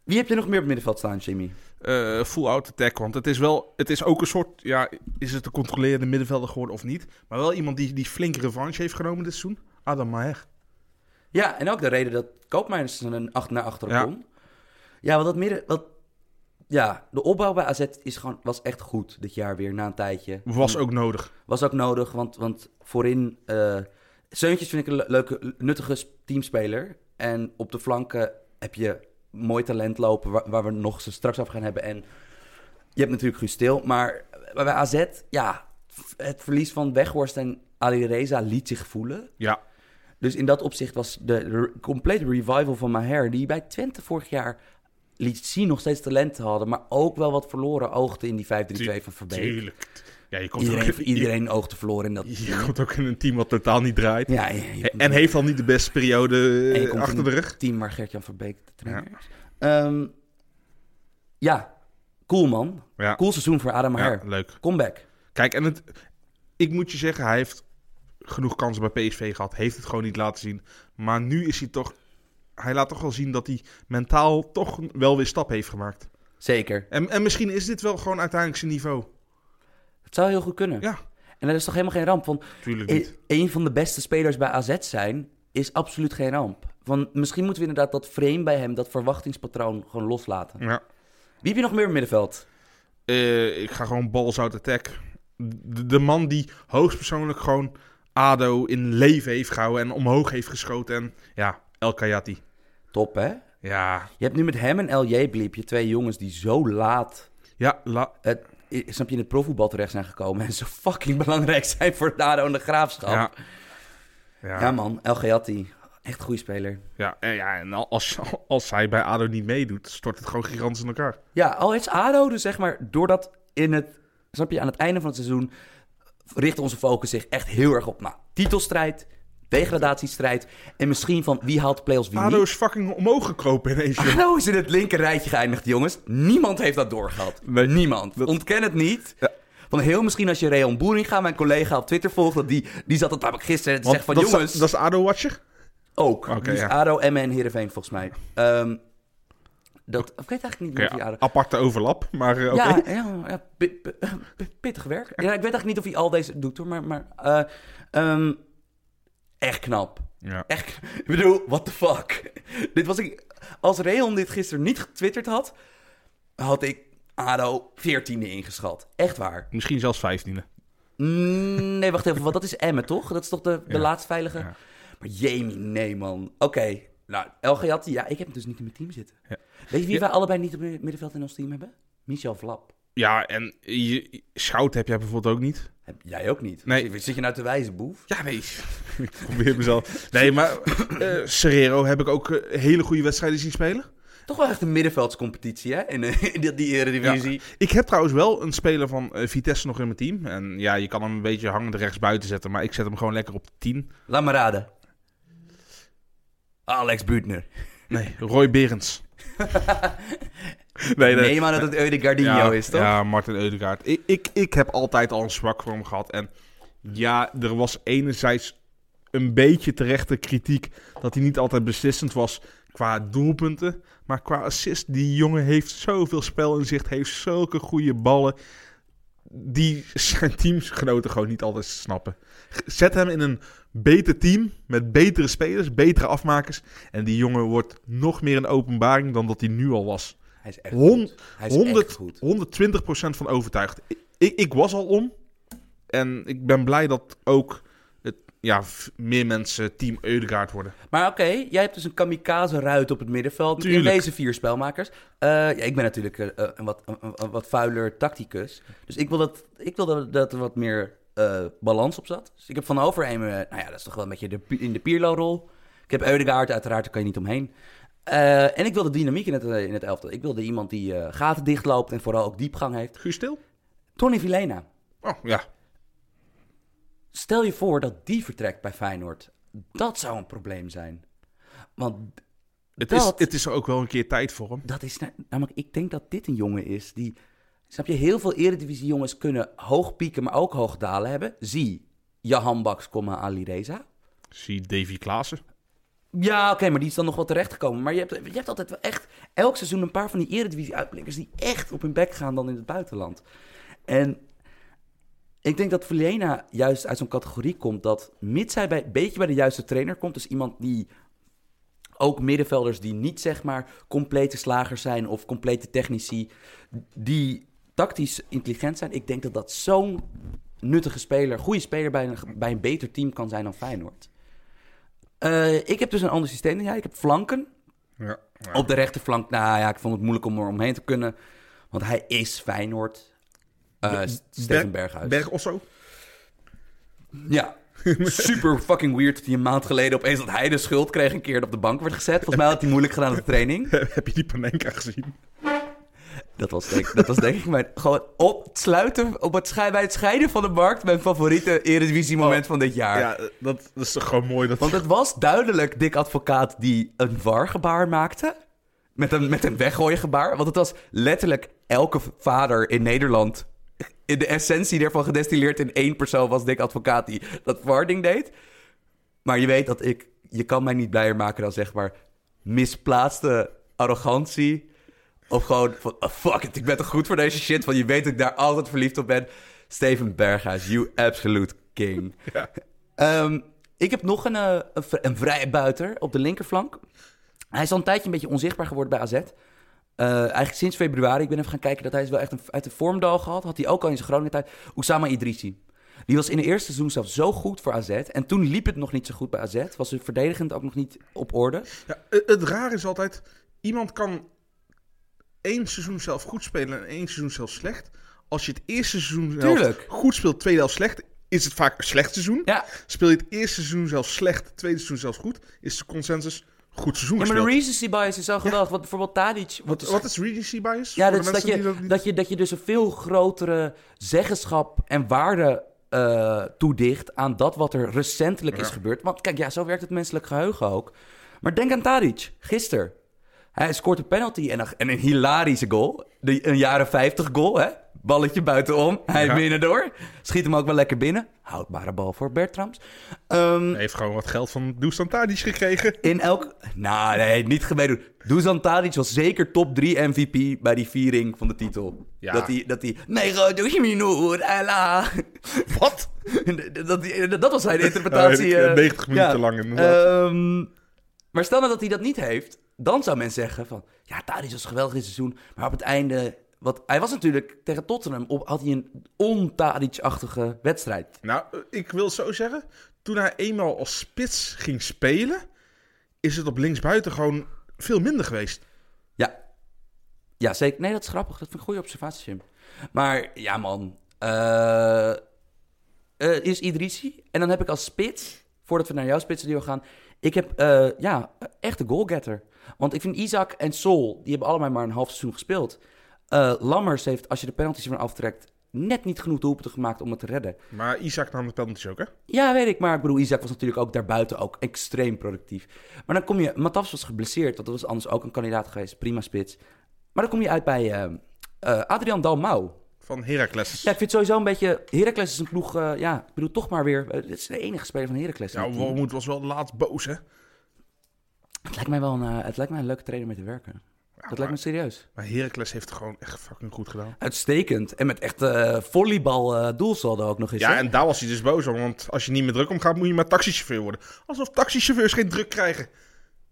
Wie heb je nog meer op het middenveld staan, Jimmy?
eh, full out attack, want het is wel, het is ook een soort, ja, is het een controlerende middenvelder geworden of niet? Maar wel iemand die, die flink revanche heeft genomen dit seizoen. Adam Maher.
Ja, en ook de reden dat Koopmeiners er een acht naar achteren
Ja.
kon. Ja, want dat midden... Wat, ja, de opbouw bij AZ is gewoon, was echt goed dit jaar weer, na een tijdje.
Was ook nodig.
Was ook nodig, want, want voorin... eh Seuntjes vind ik een le- leuke, nuttige s- teamspeler. En op de flanken heb je mooi talent lopen, waar, waar we nog ze straks af gaan hebben. En je hebt natuurlijk Guus Stil, maar bij AZ, ja... f- Het verlies van Weghorst en Alireza liet zich voelen.
Ja.
Dus in dat opzicht was de re- complete revival van Maher, die bij Twente vorig jaar liet zien nog steeds talenten hadden, maar ook wel wat verloren oogte in die 5-3-2 van Verbeek.
Tuurlijk. Ja, je komt, ook,
Iedereen,
je-
iedereen oogte verloren in dat.
Je, komt ook in een team wat totaal niet draait.
Ja, ja, je-
en heeft al niet de beste periode
en
eh,
je komt in
achter de
een
rug.
Team waar Gert-Jan Verbeek de trainer is. Ehm, ja, cool man.
Ja.
Cool seizoen voor Adam
Ja,
Maher.
leuk.
Comeback.
Kijk, en het, ik moet je zeggen, hij heeft genoeg kansen bij PSV gehad. Heeft het gewoon niet laten zien. Maar nu is hij toch... Hij laat toch wel zien dat hij mentaal toch wel weer stap heeft gemaakt.
Zeker.
En, en misschien is dit wel gewoon uiteindelijk zijn niveau.
Het zou heel goed kunnen.
Ja,
En dat is toch helemaal geen ramp? Want
tuurlijk
e-
niet.
een van de beste spelers bij AZ zijn is absoluut geen ramp. Van, misschien moeten we inderdaad dat frame bij hem, dat verwachtingspatroon, gewoon loslaten.
Ja.
Wie heb je nog meer op het middenveld?
Eh, ik ga gewoon balls out attack. De, de man die hoogstpersoonlijk gewoon ADO in leven heeft gehouden en omhoog heeft geschoten. En ja, El Kayati.
Top, hè?
Ja,
Je hebt nu met hem en LJ Bliep, je twee jongens die zo laat
ja la-
het, i- snap je, in het profvoetbal terecht zijn gekomen. En zo fucking belangrijk zijn voor Dado en de Graafschap.
ja.
Ja,
Ja,
man, El Gayati. Echt een goede speler.
ja, en, ja, en al- als, als hij bij ADO niet meedoet, stort het gewoon gigantisch in elkaar.
Ja, al is ADO dus zeg maar, doordat in het, snap je, aan het einde van het seizoen richt onze focus zich echt heel erg op, nou, titelstrijd, degradatiestrijd en misschien van wie haalt de play-offs wie
ADO
niet.
is fucking omhoog gekropen ineens. joh.
ADO is in het linker rijtje geëindigd, jongens. Niemand heeft dat doorgehad. Niemand. Ontken het niet.
Ja.
Van heel misschien als je Reon Boeringa, mijn collega op Twitter volgt, dat die, die zat dat namelijk gisteren te
Want
zeggen van
dat is-
jongens,
dat is de ADO-watcher?
ook.
Oké,
die is
ja.
ADO, Emmen en Heerenveen volgens mij. Ehm, dat, ik weet eigenlijk niet meer of die ADO...
aparte overlap, maar eh, oké.
Ja, ja, ja, pi- pi- pi- pittig werk. Ja, ik weet eigenlijk niet of hij al deze doet hoor, maar, maar eh, ehm, echt knap.
Ja.
Echt, kn- ik bedoel, what the fuck. Dit was ik, als Reon dit gisteren niet getwitterd had, had ik ADO 14e ingeschat. Echt waar.
Misschien zelfs vijftiende.
Mm, Nee, wacht even, want dat is Emmen toch? Dat is toch de, de
Ja,
laatst veilige?
ja.
Maar jemie, nee man. Oké, nou, El Gayati, ja, ik heb hem dus niet in mijn team zitten.
Ja.
Weet je wie
Ja.
wij allebei niet op het middenveld in ons team hebben? Michel Vlap.
Ja, en je, je- Schout heb jij bijvoorbeeld ook niet.
Heb jij ook niet?
Nee.
Zit- Zit je nou te wijzen, boef?
Ja, nee. ik probeer mezelf. Nee, maar eh Serrero heb ik ook eh, hele goede wedstrijden zien spelen.
Toch wel echt een middenveldscompetitie, hè? In, eh, in die, die eredivisie.
Ik heb trouwens wel een speler van eh, Vitesse nog in mijn team. En ja, je kan hem een beetje hangend rechts buiten zetten, maar ik zet hem gewoon lekker op 10.
Laat me raden. Alex Buutner.
Nee, Roy Berends. nee,
Nee, maar dat het Eude Gardino
ja,
is, toch?
Ja, Martin Eudegaard. Ik, ik, ik heb altijd al een zwak voor hem gehad. En ja, er was enerzijds een beetje terechte kritiek dat hij niet altijd beslissend was qua doelpunten. Maar qua assist, die jongen heeft zoveel spel in zicht, heeft zulke goede ballen. Die zijn teamsgenoten gewoon niet altijd snappen. Zet hem in een beter team met betere spelers, betere afmakers. En die jongen wordt nog meer een openbaring dan dat hij nu al was.
Hij is echt
Hon-
goed. Hij is
100,
echt goed.
120% van overtuigd. Ik, ik, ik was al om. En ik ben blij dat ook het, ja, v- meer mensen team Eudegaard worden.
Maar oké, jij hebt dus een kamikaze-ruit op het middenveld. In
Tuurlijk.
deze vier spelmakers. Eh, ja, ik ben natuurlijk eh, eh, een, wat, een, een- een wat vuiler tacticus. Dus ik wil dat, ik wil dat, dat er wat meer eh, balans op zat. Dus ik heb Van Overheem, eh, nou ja, dat is toch wel een beetje de, pi- in de Pirlo-rol. Ik heb Eudegaard, uiteraard, daar kan je niet omheen. Eh, en ik wilde dynamiek in het, eh, in het elftal. Ik wilde iemand die eh, gaten dichtloopt en vooral ook diepgang heeft.
Guus Stil?
Tony Villena.
Oh, ja.
Stel je voor dat die vertrekt bij Feyenoord. Dat zou een probleem zijn. Want
Het is,
Dat-
het is er ook wel een keer tijd voor hem.
Dat is na- namelijk, ik denk dat dit een jongen is die. Snap je, heel veel eredivisie jongens kunnen hoog pieken, maar ook hoog dalen hebben. Zie Jahan Baks, comma, Ali Reza.
Zie Davy Klaassen.
Ja, oké, maar die is dan nog wel terechtgekomen. Maar je hebt, je hebt altijd wel echt elk seizoen een paar van die eredivisie-uitblinkers... die echt op hun bek gaan dan in het buitenland. En ik denk dat Velena juist uit zo'n categorie komt... dat mits hij bij, een beetje bij de juiste trainer komt... dus iemand die ook middenvelders die niet zeg maar complete slagers zijn... of complete technici, die tactisch intelligent zijn... ik denk dat dat zo'n nuttige speler, goede speler... bij een, bij een beter team kan zijn dan Feyenoord. Eh, ik heb dus een ander systeem dan jij. Ik heb flanken.
Ja.
Op de rechterflank, nou ja, ik vond het moeilijk om er omheen te kunnen. Want hij is Feyenoord. Eh, S- Steven Berghuis.
Berg Osso.
ja. Super fucking weird dat hij een maand geleden opeens dat hij de schuld kreeg een keer op de bank werd gezet. Volgens mij had hij moeilijk gedaan op de training.
Heb je die Panenka gezien?
Dat was denk, dat was denk ik mijn... Gewoon op het sluiten, op het schei- bij het scheiden van de markt... mijn favoriete Eredivisie moment van dit jaar.
Ja, dat, dat is toch gewoon mooi. Dat...
Want het was duidelijk Dick Advocaat die een wargebaar maakte. Met een, met een weggooien gebaar. Want het was letterlijk elke vader in Nederland... in de essentie daarvan gedestilleerd in één persoon... was Dick Advocaat die dat warding deed. Maar je weet dat ik... Je kan mij niet blijer maken dan zeg maar... misplaatste arrogantie... Of gewoon van, ah, fuck it, ik ben toch goed voor deze shit. Want je weet dat ik daar altijd verliefd op ben. Steven Berghuis, you absolute king. Ehm, ik heb nog een, eh, een, vri- een vrije buiter op de linkerflank. Hij is al een tijdje een beetje onzichtbaar geworden bij AZ. Eh, eigenlijk sinds februari. Ik ben even gaan kijken dat hij is wel echt een, uit de vormdal gehad. Had hij ook al in zijn Groningen tijd. Oussama Idrissi. Die was in het eerste seizoen zelf zo goed voor AZ. En toen liep het nog niet zo goed bij AZ. Was het verdedigend ook nog niet op orde.
Ja, het, het raar is altijd, iemand kan één seizoen zelf goed spelen en één seizoen zelf slecht. Als je het eerste seizoen zelf
Tuurlijk.
goed speelt, tweede helft slecht, is het vaak een slecht seizoen.
Ja,
Speel je het eerste seizoen zelf slecht, tweede seizoen zelfs goed, is de consensus goed seizoen
ja maar de
gespeeld.
recency bias is zo gedacht. Want bijvoorbeeld Tadic... wordt dus-
Wat is regency bias?
Ja, dat,
Voor de
is dat,
mensen
je,
die niet-
dat, je, dat je dus een veel grotere zeggenschap en waarde eh, toedicht aan dat wat er recentelijk is gebeurd. Want kijk, ja, zo werkt het menselijk geheugen ook. Maar denk aan Tadic, gisteren. Hij scoort een penalty en een, en een hilarische goal. De, een jaren 50 goal, hè? Balletje buitenom, hij
Ja.
binnen door. Schiet hem ook wel lekker binnen. Houdbare bal voor Bertrams. Ehm,
Hij heeft gewoon wat geld van Dusan Tadic gekregen.
in elk... Nou, nee, niet gemeedoen. Dusan Tadic was zeker top 3 MVP bij die viering van de titel.
Ja.
Dat hij... Dat hij... Nego, doe je me noer, ella.
Wat?
dat, die- dat was zijn interpretatie.
Ja,
eh,
90 minuten lang, inderdaad.
Ehm, maar stel nou dat hij dat niet heeft, dan zou men zeggen van... Ja, Tadic was geweldig dit seizoen, maar op het einde... Wat, hij was natuurlijk tegen Tottenham, op, had hij een on-Tadic-achtige wedstrijd.
Nou, eh, ik wil het zo zeggen. Toen hij eenmaal als spits ging spelen, is het op linksbuiten gewoon veel minder geweest.
Ja. Ja, zeker. Nee, dat is grappig. Dat vind ik een goede observatie, Jim. Maar ja, man. Eh, eh, is Idrisi. En dan heb ik als spits, voordat we naar jouw spitsen gaan... Ik heb, eh ja, echt een goalgetter. Want ik vind Isaac en Sol, die hebben allemaal maar een half seizoen gespeeld. Eh, Lammers heeft, als je de penalties ervan aftrekt... net niet genoeg doelpunten gemaakt om het te redden.
Maar Isaac nam de penalties ook, hè?
Ja, weet ik. Maar ik bedoel, Isaac was natuurlijk ook daarbuiten ook extreem productief. Maar dan kom je... Matas was geblesseerd. want Dat was anders ook een kandidaat geweest. Prima spits. Maar dan kom je uit bij eh, eh, Adrian Dalmau.
Van Heracles.
Ja, ik vind het sowieso een beetje... Heracles is een ploeg... eh, ja, ik bedoel, toch maar weer... eh, dit is de enige speler van Heracles. in
Nou,
het team.
Wormoed was wel laatst boos, hè?
het, lijkt mij wel een, eh, het lijkt mij een leuke trainer om mee te werken. dat lijkt me serieus.
Maar Heracles heeft het gewoon echt fucking goed gedaan.
Uitstekend. En met echt eh, volleybal eh, doelsaldo ook nog eens.
Ja,
hè?
en daar was hij dus boos om. Want als je niet meer druk omgaat, moet je maar taxichauffeur worden. Alsof taxichauffeurs geen druk krijgen.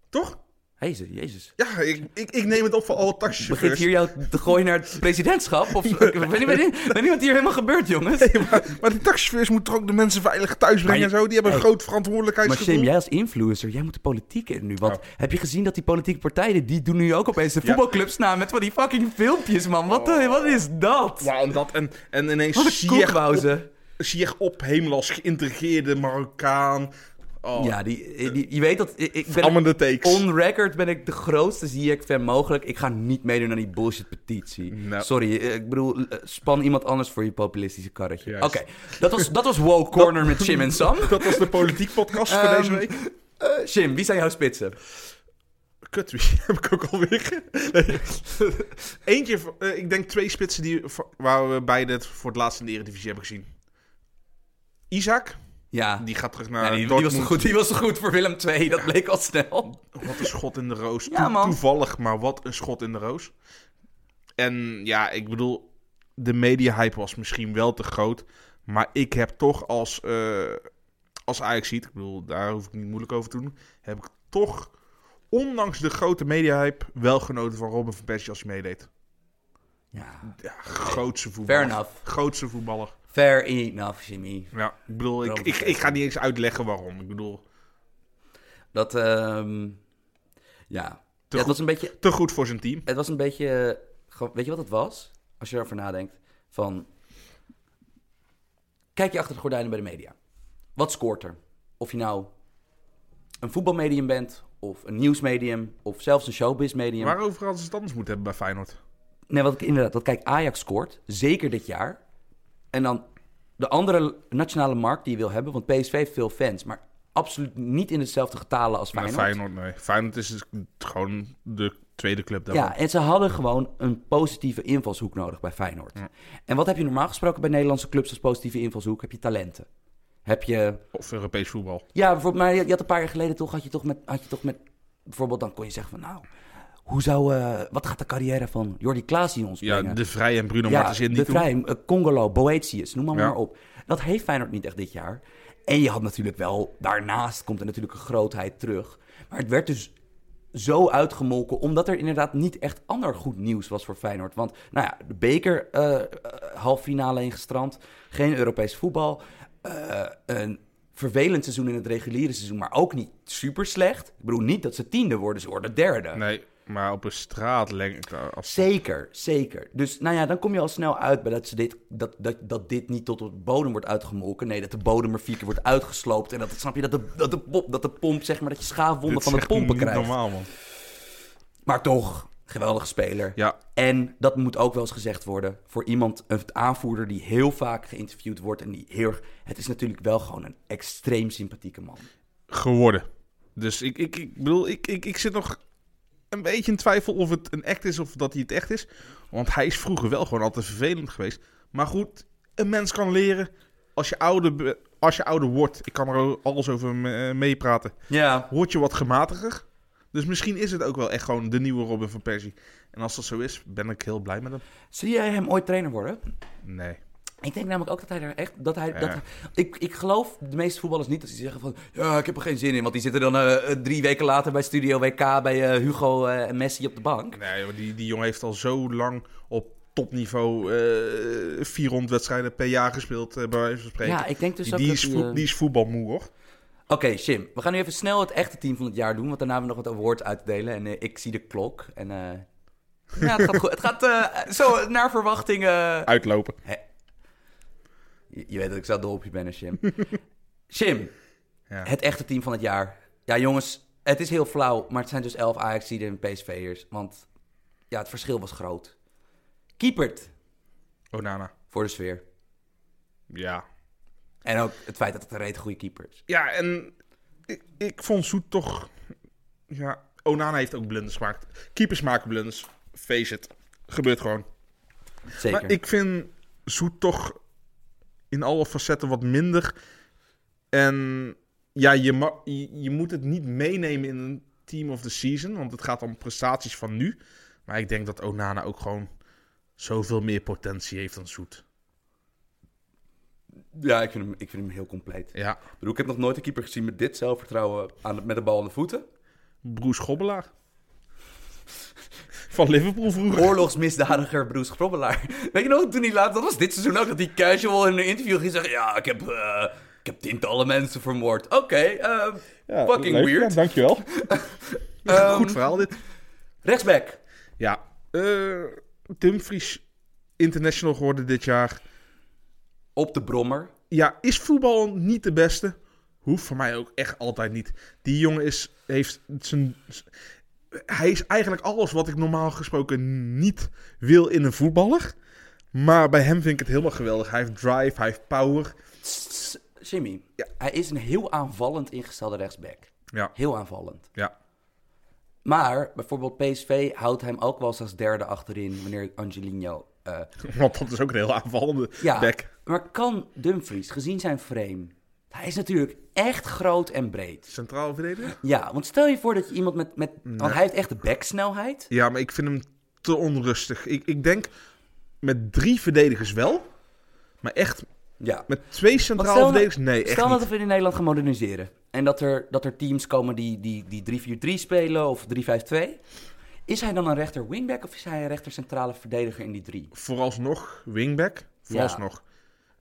Toch?
Jezus, jezus.
Ja, ik, ik, ik neem het op voor alle
Begint
taxichauffeurs.
hier jou te gooien naar het presidentschap? Of, ik weet niet- weet niet weet niet wat hier helemaal gebeurt, jongens.
Nee, maar, maar die taxichauffeurs moeten toch ook de mensen veilig thuis brengen
je-
en zo. Die hebben een
Hey.
groot
Maar
verantwoordelijkheidsgevoel.
Sim, jij als influencer, jij moet de politiek in nu. Want
Oh.
heb je gezien dat die politieke partijen, die doen nu ook opeens de
Ja. Oh.
voetbalclubs na met van die fucking filmpjes, man. Wat, de- wat is dat?
Ja, en dat en, en
Wat een
ineens
koekwauze.
Sieg op, op hemel als geïntegreerde Marokkaan. Oh,
Ja, die, die, je weet dat... Ik, ik ben
Ammende takes.
on record ben ik de grootste Ziyech-fan mogelijk. Ik ga niet meedoen aan die bullshit-petitie.
Nou.
Sorry, eh, ik bedoel, eh, span iemand anders voor je populistische karretje. Oké,
Juist.
dat, was, dat was Wow Corner met Jim en Sam.
Dat was de politiek podcast voor
Ehm,
deze week.
Eh, Jim, wie zijn jouw spitsen?
Kut, wie heb ik ook alweer? Nee. Eentje, van- eh, ik denk twee spitsen die, van- waar we beide het voor het laatst in de Eredivisie hebben gezien. Isaac,
Ja,
die gaat terug naar
Ja, die, die was
Dortmund.
toch goed, die was toch goed voor Willem II, dat bleek al snel.
Wat een schot in de roos.
Ja,
Toe-
man.
Toevallig, maar wat een schot in de roos. En ja, ik bedoel, de media-hype was misschien wel te groot. Maar ik heb toch als, eh als Ajax ziet, ik bedoel, daar hoef ik niet moeilijk over te doen. Heb ik toch, ondanks de grote media-hype, wel genoten van Robin van Persie als hij meedeed.
Ja.
Ja, grootse voetballer.
Fair enough.
Grootse voetballer.
Fair enough, Jimmy.
Ja, ik bedoel, ik,
Robin
ik,
van
ik ga niet eens uitleggen waarom. Ik bedoel,
Dat, ehm, ja. ja het,
goed.
was een beetje,
te goed voor zijn team.
het was een beetje, gewoon- weet je wat het was? Als je erover nadenkt, van, kijk je achter de gordijnen bij de media. Wat scoort er? Of je nou een voetbalmedium bent, of een nieuwsmedium, of zelfs een showbizmedium.
Waarover hadden ze het anders moeten hebben bij Feyenoord?
Nee, wat ik inderdaad, wat kijk, Ajax scoort, zeker dit jaar. En dan de andere nationale markt die je wil hebben, want PSV heeft veel fans, maar absoluut niet in dezelfde getalen als
Bij
Feyenoord.
Ah, Feyenoord, nee. Feyenoord is dus gewoon de tweede club daarvan.
Ja, en ze hadden gewoon een positieve invalshoek nodig bij Feyenoord. En wat heb je normaal gesproken bij Nederlandse clubs als positieve invalshoek? Heb je talenten? Heb je
Of Europees voetbal.
Ja, bijvoorbeeld, maar je je had een paar jaar geleden toch, had je toch met, had je toch met bijvoorbeeld dan kon je zeggen van, nou, hoe zou, eh, wat gaat de carrière van Jordi Klaas in ons
Ja,
brengen?
De Vrij en Bruno
ja,
Martens in die
de
toe.
Vrij, eh, Congolo, Boetius, noem maar,
Ja.
maar op. Dat heeft Feyenoord niet echt dit jaar. En je had natuurlijk wel, daarnaast komt er natuurlijk een grootheid terug. Maar het werd dus zo uitgemolken, omdat er inderdaad niet echt ander goed nieuws was voor Feyenoord. Want, nou ja, de beker eh, eh, halffinale ingestrand, geen Europees voetbal, eh, een vervelend seizoen in het reguliere seizoen, maar ook niet super slecht. Ik bedoel, niet dat ze tiende worden, ze worden derde.
Nee, maar op een straatlengte. Als...
Zeker, zeker. Dus nou ja, dan kom je al snel uit bij dat, ze dit, dat, dat, dat dit niet tot op de bodem wordt uitgemolken. Nee, dat de bodem er vier keer wordt uitgesloopt. En dat, snap je, dat de, dat de, pop- dat de pomp, zeg maar, dat je
Dit
schaafwonden
is
van de
echt
pompen
niet
krijgt.
normaal, man.
Maar toch, geweldige speler.
Ja,
En dat moet ook wel eens gezegd worden voor iemand, een aanvoerder die heel vaak geïnterviewd wordt. En die heel erg- Het is natuurlijk wel gewoon een extreem sympathieke man.
geworden. Dus ik, ik, ik bedoel, ik, ik, ik zit nog een beetje in twijfel of het een act is of dat hij het echt is. Want hij is vroeger wel gewoon altijd vervelend geweest. Maar goed, een mens kan leren als je ouder, be- als je ouder wordt. Ik kan er al- alles over me- eh, meepraten.
Ja.
Word je wat gematiger. Dus misschien is het ook wel echt gewoon de nieuwe Robin van Persie. En als dat zo is, ben ik heel blij met hem.
Zie jij hem ooit trainer worden?
Nee.
Ik denk namelijk ook dat hij daar echt. Dat hij,
Ja.
dat, ik, ik geloof de meeste voetballers niet als die zeggen van. Ja, ik heb er geen zin in. Want die zitten dan eh, eh, drie weken later bij Studio WK bij eh, Hugo eh, en Messi op de bank.
Nee, joh, die, die jongen heeft al zo lang op topniveau eh 400 wedstrijden per jaar gespeeld, eh, bij wijze van spreken.
Ja, ik denk dus
Die,
ook
die,
dat
is
hij,
voet-
eh,
die is voetbalmoe, hoor.
Oké, Jim, we gaan nu even snel het echte team van het jaar doen. Want daarna hebben we nog wat awards uit te delen. En eh, ik zie de klok. En. eh, ja, het gaat goed. Het gaat eh, zo naar verwachting. eh,
Uitlopen.
Je, je weet dat ik zo dol op je ben, hè, Jim. Jim,
Ja.
het echte team van het jaar. Ja, jongens, het is heel flauw, maar het zijn dus 11 ajax en PSV'ers. Want ja, het verschil was groot. Kiepert
Onana.
voor de sfeer.
Ja.
En ook het feit dat het een reet goede keeper is.
Ja, en ik, ik vond Zoet toch... Ja, Onana heeft ook blunders gemaakt. Keepers maken blunders. Face it. Gebeurt gewoon.
Zeker.
Maar ik vind Zoet toch in alle facetten wat minder. En ja, je, ma- je, je moet het niet meenemen in een team of the season. Want het gaat om prestaties van nu. Maar ik denk dat Onana ook gewoon zoveel meer potentie heeft dan Zoet.
Ja, ik vind, hem, ik vind hem heel compleet.
Ja,
Ik, bedoel, ik heb nog nooit een keeper gezien met dit zelfvertrouwen aan de- met de bal aan de voeten.
Broes Gobbelaar. Van Liverpool vroeger.
Oorlogsmisdadiger Broes Grobbelaar. Weet je nog, toen hij laat, dat was dit seizoen ook, dat hij casual in een interview ging zeggen... Ja, ik heb, eh, ik heb tientallen mensen vermoord. Oké, eh, fucking weird.
dankjewel.
Ehm,
Goed verhaal dit.
Rechtsback.
Ja, eh Dumfries international geworden dit jaar.
Op de brommer.
ja, is voetbal niet de beste? Hoeft voor mij ook echt altijd niet. Die jongen is, heeft zijn. Hij is eigenlijk alles wat ik normaal gesproken niet wil in een voetballer. Maar bij hem vind ik het helemaal geweldig. Hij heeft drive, hij heeft power.
S- Jimmy, hij is een heel aanvallend ingestelde rechtsback.
Ja,
Heel aanvallend.
ja.
Maar bijvoorbeeld PSV houdt hem ook wel eens als derde achterin wanneer Angelino... eh,
Want dat is ook een heel aanvallende
ja,
back.
maar kan Dumfries, gezien zijn frame... Hij is natuurlijk echt groot en breed.
Centraal verdediger?
Ja, want stel je voor dat je iemand met... met Want hij heeft echt de backsnelheid.
Ja, maar ik vind hem te onrustig. Ik, ik denk met drie verdedigers wel. Maar echt
Ja.
met twee
Want
centrale
stel nou-
verdedigers? Nee, echt
Stel
niet.
dat we in Nederland gaan moderniseren. En dat er, dat er teams komen die, die, die 3-4-3 spelen of 3-5-2. Is hij dan een rechter wingback of is hij een rechter centrale verdediger in die drie?
vooralsnog wingback. Vooralsnog.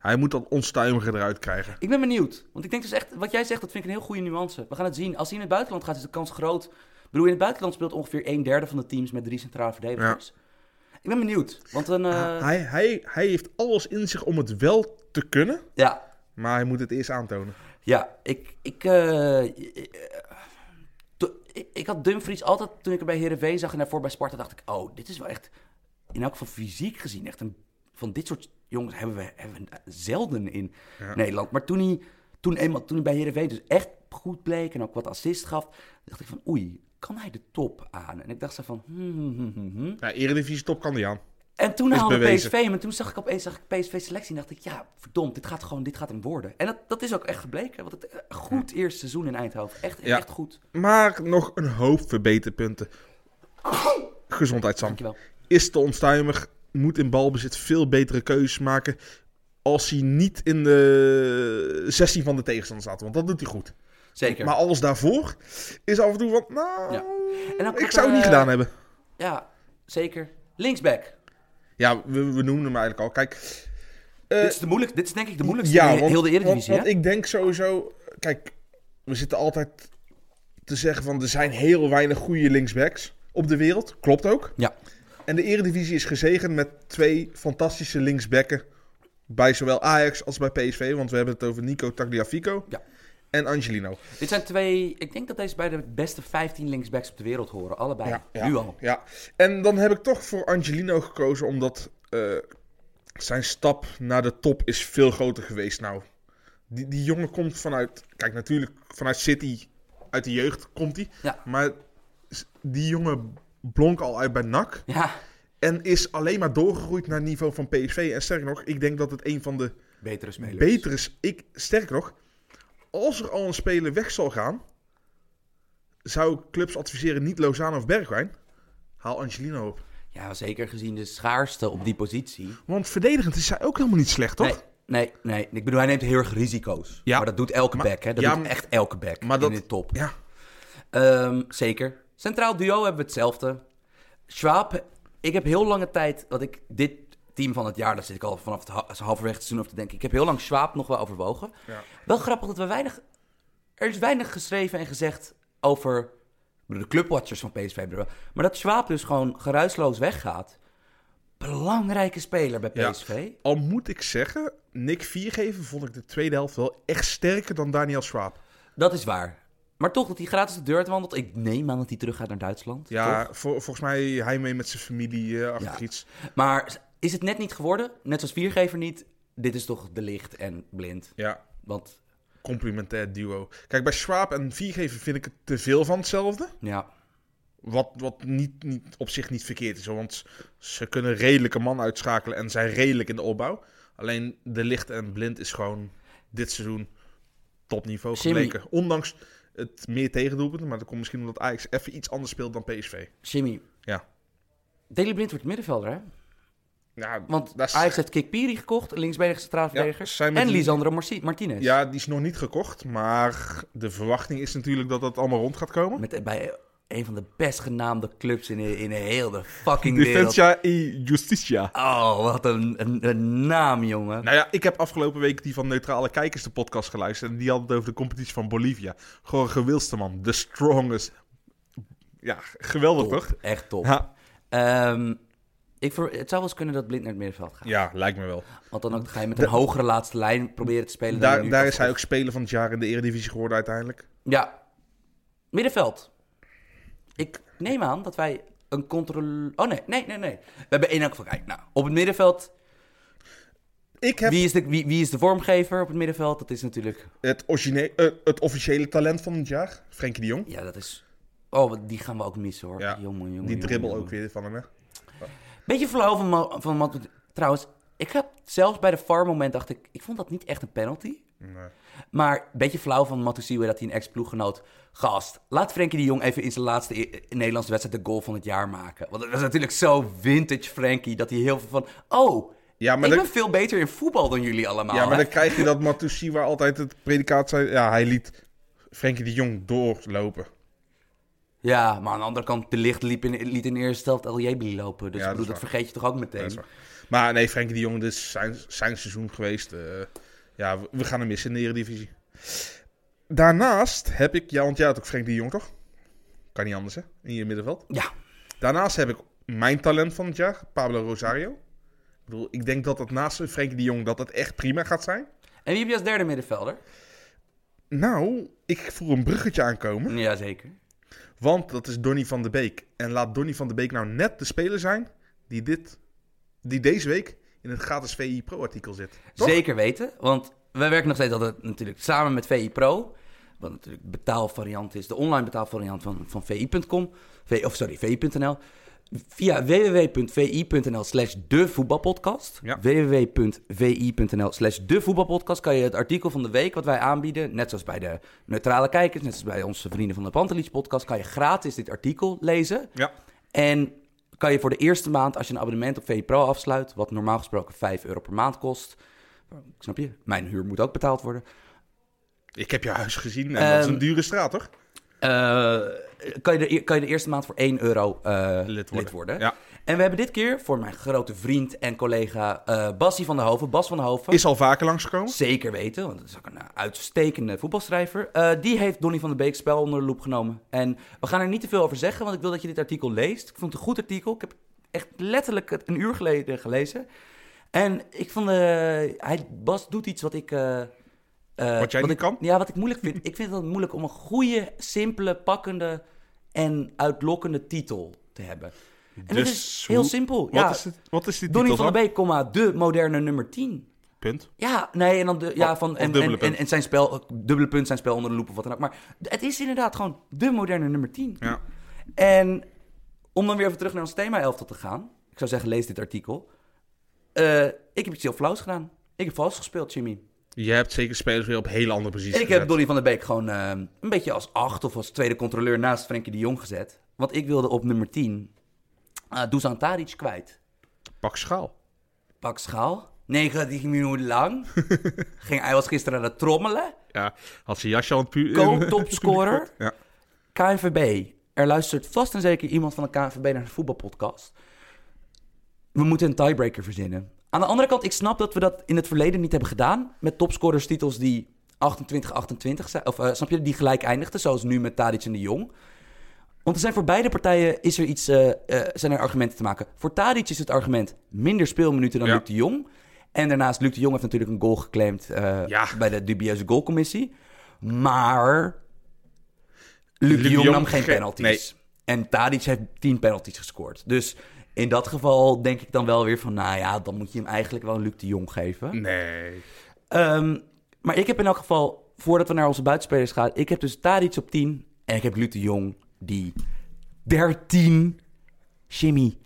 Hij moet dat onstuimige eruit krijgen.
Ik ben benieuwd. Want ik denk dus echt, wat jij zegt, dat vind ik een heel goede nuance. We gaan het zien. Als hij in het buitenland gaat, is de kans groot. Ik bedoel, in het buitenland speelt ongeveer een derde van de teams met drie centrale verdedigers. Ik ben benieuwd. Want dan. eh,
Hij, hij, hij heeft alles in zich om het wel te kunnen,
ja.
maar hij moet het eerst aantonen.
Ja, ik... Ik, eh, ik- to- ik- ik had Dumfries altijd, toen ik hem bij Heerenveen zag en daarvoor bij Sparta, dacht ik... Oh, dit is wel echt, in elk geval fysiek gezien, echt een... Van dit soort jongens hebben we, hebben we zelden in Nederland. Maar toen hij, toen, eenmaal, toen hij bij Heerenveen dus echt goed bleek en ook wat assist gaf, dacht ik van oei, kan hij de top aan? En ik dacht zo van... hmm, hmm, hmm, hmm, hmm.
Nou, Eredivisie top kan die aan.
En toen
Is
haalde
bewezen.
PSV hem en toen zag ik opeens zag ik PSV selectie en dacht ik, ja, verdomd, dit gaat gewoon, dit gaat hem worden. En dat, dat is ook echt gebleken, want het eh, goed eerste seizoen in Eindhoven. Echt,
Ja.
echt goed.
Maar nog een hoop verbeterpunten. Gezondheid, Sam.
Dankjewel.
Is te onstuimig. Moet in balbezit veel betere keuzes maken. Als hij niet in de 16 van de tegenstander staat. Want dat doet hij goed.
Zeker.
Maar alles daarvoor is af en toe van. Nou,
Ja. En ook
ik
wat,
zou het niet
eh,
gedaan hebben. Eh,
Ja, zeker. Linksback.
Ja, we, we noemden hem eigenlijk al. Kijk. eh,
dit, is de moeilijk, dit is denk ik de moeilijkste in heel de Eredivisie,
want,
hè?
want ik denk sowieso... Kijk, we zitten altijd te zeggen van... er zijn heel weinig goede linksbacks op de wereld. Klopt ook.
Ja.
En de Eredivisie is gezegend met twee fantastische linksbacken... bij zowel Ajax als bij PSV. Want we hebben het over Nico Tagliafico
Ja.
en Angelino.
Dit zijn twee, ik denk dat deze bij de beste 15 linksbacks op de wereld horen. Allebei,
ja,
nu al.
Ja. En dan heb ik toch voor Angelino gekozen... omdat eh, zijn stap naar de top is veel groter geweest nou. Die, die jongen komt vanuit... Kijk, natuurlijk vanuit City, uit de jeugd komt hij.
Ja.
Maar s- die jongen blonk al uit bij NAC.
Ja,
En is alleen maar doorgegroeid naar het niveau van PSV. En sterker nog, ik denk dat het een van de
betere spelers.
betere... is. Ik, sterker nog, als er al een speler weg zal gaan... zou ik clubs adviseren niet Lozano of Bergwijn. Haal Angelino op.
Ja, zeker gezien de schaarste op die positie.
Want verdedigend is hij ook helemaal niet slecht, toch?
Nee, nee, nee. Ik bedoel, hij neemt heel erg risico's.
Ja.
Maar dat doet elke
Maar-
back, hè? Dat
ja,
doet
maar-
echt elke back
Maar dat...
in de top.
Ja,
Ehm, zeker. Centraal duo hebben we hetzelfde. Schwab, ik heb heel lange tijd, dat ik dit team van het jaar, daar zit ik al vanaf het ha- halverwege het seizoen over te denken. Ik heb heel lang Schwab nog wel overwogen.
Ja.
Wel grappig dat we weinig, er is weinig geschreven en gezegd over de clubwatchers van PSV. hebben er wel. Maar dat Schwab dus gewoon geruisloos weggaat. Belangrijke speler bij
Ja.
PSV.
Al moet ik zeggen, Nick Viergeven vond ik de tweede helft wel echt sterker dan Daniel Swaap.
Dat is waar. Maar toch dat hij gratis de deur uit wandelt. Ik neem aan dat hij terug gaat naar Duitsland.
Ja,
toch?
vol- volgens mij hij mee met zijn familie eh, achter
Ja.
iets.
Maar is het net niet geworden? Net zoals Viergever niet. Dit is toch de licht en blind.
Ja,
Want
complementair duo. Kijk, bij Swaap en Viergeven vind ik het te veel van hetzelfde.
nou ja,
Wat, wat niet, niet, op zich niet verkeerd is, hoor, want ze kunnen redelijke man uitschakelen en zijn redelijk in de opbouw. Alleen de licht en blind is gewoon dit seizoen topniveau
Jimmy.
gebleken. Ondanks het meer tegendoelpunten, maar dat komt misschien omdat Ajax even iets anders speelt dan PSV.
Jimmy.
Ja.
Daley Blind wordt middenvelder, hè?
Ja,
Want
dat is-
Ajax heeft Kikpiri gekocht, linksbenige centraal verdediger.
ze zijn met
en
die-
Lisandro Marci- Martinez.
Ja, die is nog niet gekocht, maar de verwachting is natuurlijk dat dat allemaal rond gaat komen.
Met, eh, bij een van de best genaamde clubs in, in heel de fucking wereld.
Defensa e Justicia.
Oh, wat een, een, een naam, jongen.
Nou ja, ik heb afgelopen week die van Neutrale Kijkers de podcast geluisterd. En die had het over de competitie van Bolivia. Jorge Wilsterman, the strongest. Ja, geweldig Nou, toch?
Top, echt top.
Ja,
Ehm, ik ver- het zou wel eens kunnen dat Blind naar het middenveld gaat.
ja, lijkt me wel.
Want dan ook ga je met een hogere laatste lijn proberen te spelen. dan je
Daar,
nu
daar
kan.
is hij ook speler van het jaar in de Eredivisie geworden uiteindelijk.
Ja. Middenveld. Ik neem aan dat wij een controle... Oh nee, nee, nee, nee. We hebben één ook van... Kijk, nou, op het middenveld...
Ik heb
Wie is, de, wie, wie is de vormgever op het middenveld? Dat is natuurlijk...
het, origine- eh, het officiële talent van het jaar, Frenkie de Jong.
Ja, dat is... Oh, wat- die gaan we ook missen, hoor.
Ja,
Jongen, jongen,
Die
jongen,
dribbel
jongen.
ook weer van hem, hè?
Beetje flauw van, Ma- van Mat- Trouwens, ik heb zelfs bij de VAR moment dacht ik... Ik vond dat niet echt een penalty.
Nee.
Maar een beetje flauw van Matusiwe dat hij een ex-ploeggenoot gast. Laat Frenkie de Jong even in zijn laatste i- i- Nederlandse wedstrijd de goal van het jaar maken. Want dat is natuurlijk zo vintage Frenkie dat hij heel veel van... Oh,
Ja,
ik
maar dat-
ben Ah. veel beter in voetbal dan jullie allemaal.
Ja, maar
hè?
dan krijg je dat Matusiwa altijd het predicaat zei. Ja, hij liet Frenkie de Jong doorlopen.
ja, maar aan de andere kant, de licht liep in, liet in de eerste helft El Jebeli lopen. Dus
Ja,
ik bedoel,
dat
dat,
is
vergeet je toch ook
Dat
meteen.
is waar. Maar nee, Frenkie de Jong, dit is zijn, zijn seizoen geweest. Eh, ja, we, we gaan hem missen in de Eredivisie. Daarnaast heb ik... Ja, want jij had ook Frenkie de Jong, toch? Kan niet anders, hè? In je middenveld.
ja,
Daarnaast heb ik mijn talent van het jaar, Pablo Rosario. Ik bedoel, ik denk dat dat naast Frenkie de Jong dat dat echt prima gaat zijn.
en wie heb je als derde middenvelder?
Nou, ik voel een bruggetje aankomen.
Jazeker.
Want dat is Donny van de Beek. En laat Donny van de Beek nou net de speler zijn die, dit, die deze week in het gratis VI Pro-artikel zit. Toch?
Zeker weten, want wij werken nog steeds altijd natuurlijk samen met VI Pro. Wat natuurlijk betaalvariant is, de online betaalvariant van, van VI.com. V- Of sorry, VI.nl. Via www.vi.nl slash de voetbalpodcast.
Ja.
www.vi.nl slash de voetbalpodcast kan je het artikel van de week wat wij aanbieden, net zoals bij de neutrale kijkers, net zoals bij onze vrienden van de Pantelis podcast, kan je gratis dit artikel lezen.
Ja.
En kan je voor de eerste maand, als je een abonnement op VE Pro afsluit, wat normaal gesproken 5 euro per maand kost. Snap je? Mijn huur moet ook betaald worden.
Ik heb je huis gezien en dat is
Ehm,
een dure straat, toch?
Eh, kan, je de, e- kan je de eerste maand voor 1 euro eh, lid worden.
Ja.
En we hebben dit keer voor mijn grote vriend en collega eh Bassie van der Hoven, Bas van der Hoven.
Is al vaker langsgekomen.
Zeker weten, want het is ook een eh, uitstekende voetbalschrijver. Eh, die heeft Donny van de Beek spel onder de loep genomen. En we gaan er niet te veel over zeggen, want ik wil dat je dit artikel leest. Ik vond het een goed artikel. Ik heb echt letterlijk het een uur geleden gelezen. En ik vond, eh, hij, Bas doet iets wat ik... eh, eh,
Wat jij niet
ik,
kan?
Ja, wat ik moeilijk vind. ik vind het moeilijk om een goede, simpele, pakkende en uitlokkende titel te hebben. En dat
Dus
is heel
hoe-
simpel.
Wat,
ja.
is het, wat is die titel
Donny van de
dan?
Beek, comma, de moderne nummer 10.
Punt.
Ja, nee, en dan de, ja,
Of-
van,
of
en,
dubbele
en, en,
punt.
en zijn spel, dubbele punt, zijn spel onder de loep of wat dan ook. Maar het is inderdaad gewoon de moderne nummer 10.
Ja.
En om dan weer even terug naar ons thema elftal te gaan. Ik zou zeggen, lees dit artikel. Eh, ik heb iets heel flauws gedaan. Ik heb vals gespeeld, Jimmy.
Je hebt zeker spelers weer op hele andere posities
Ik heb
gezet.
Donny van der Beek gewoon eh, een beetje als acht of als tweede controleur naast Frenkie de Jong gezet. Want ik wilde op nummer 10 eh Dusan Tadic kwijt.
Pak schaal.
Pak schaal. 90 minuten lang. Ging, hij was gisteren aan het trommelen.
Ja, had zijn jasje al een puur...
Co-topscorer.
Ja.
KNVB. Er luistert vast en zeker iemand van de KNVB naar de voetbalpodcast. We moeten een tiebreaker verzinnen. Aan de andere kant, ik snap dat we dat in het verleden niet hebben gedaan. Met topscorerstitels die 28-28 zijn. Of eh, snap je, die gelijk eindigden. Zoals nu met Tadic en de Jong. Want er zijn voor beide partijen is er iets, eh, eh, zijn er argumenten te maken. Voor Tadic is het argument minder speelminuten dan
Ja.
Luc de Jong. En daarnaast, Luc de Jong heeft natuurlijk een goal geclaimd eh,
Ja.
bij de dubieuze goalcommissie. Maar Luc,
Luc
de
de
Jong
Jong
nam geen
geen-
penalties. En Tadic heeft 10 penalties gescoord. Dus in dat geval denk ik dan wel weer van... nou ja, dan moet je hem eigenlijk wel een Luc de Jong geven.
Mm. Nee.
Ehm, maar ik heb in elk geval, voordat we naar onze buitenspelers gaan... ik heb dus Tadic op 10 en ik heb Luc de Jong die 13... Jimmy,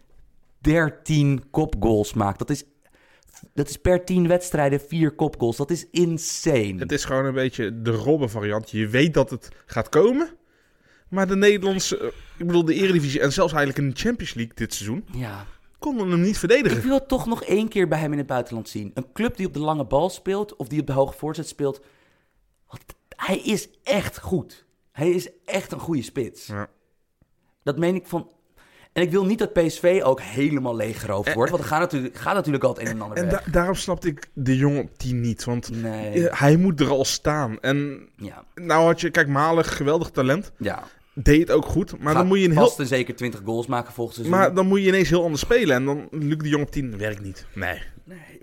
13 kopgoals maakt. Dat is, dat is per 10 wedstrijden 4 kopgoals. Dat is insane.
Het is gewoon een beetje de Robben variant. Je weet dat het gaat komen. Maar de Nederlandse... eh, Ik bedoel, de Eredivisie en zelfs eigenlijk in de Champions League dit seizoen...
Ja.
konden hem niet
Ik
verdedigen.
wil het toch nog één keer bij hem in het buitenland zien. Een club die op de lange bal speelt of die op de hoge voorzet speelt. Want hij is echt goed. Hij is echt een goede spits.
Ja.
Dat meen ik van. En ik wil niet dat PSV ook helemaal leeggeroofd wordt. Want er gaat natuurlijk, gaat natuurlijk al het een en ander
Eh, En
weg.
da- daarom snapte ik de jongen op 10 niet. Want
Nee.
eh, hij moet er al staan. En
Ja.
nou had je... Kijk, Malen, geweldig talent.
ja.
Deed het ook goed. Maar dan moet je een heel...
vast en zeker 20 goals maken volgens seizoen.
Maar dan moet je ineens heel anders spelen. En dan Luc de Jong op 10 werkt niet. Nee.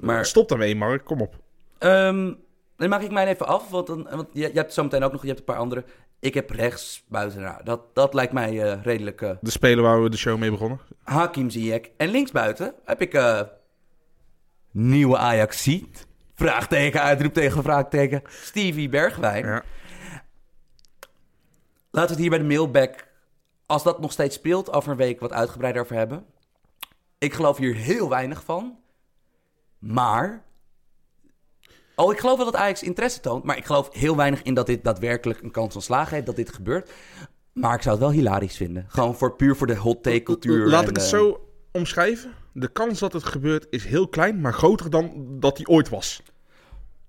maar
Stop daarmee, Mark. Kom op.
Ehm, dan maak ik mij even af, want, dan, want je, je hebt zo meteen ook nog je hebt een paar andere. Ik heb rechts buiten. Nou, dat, dat lijkt mij eh, redelijk eh,
De speler waar we de show mee begonnen.
Hakim Ziyech. En linksbuiten heb ik eh, nieuwe ajax Vraagteken, uitroepteken, vraagteken. Stevie Bergwijn.
Ja.
Laten we het hier bij de mailback, als dat nog steeds speelt, over een week wat uitgebreider over hebben. Ik geloof hier heel weinig van. Maar... Oh, ik geloof wel dat Ajax interesse toont. Maar ik geloof heel weinig in dat dit daadwerkelijk een kans van slagen heeft, dat dit gebeurt. Maar ik zou het wel hilarisch vinden. Gewoon voor, puur voor de hot take cultuur.
Laat
en,
ik het
eh,
zo omschrijven. De kans dat het gebeurt is heel klein, maar groter dan dat hij ooit was.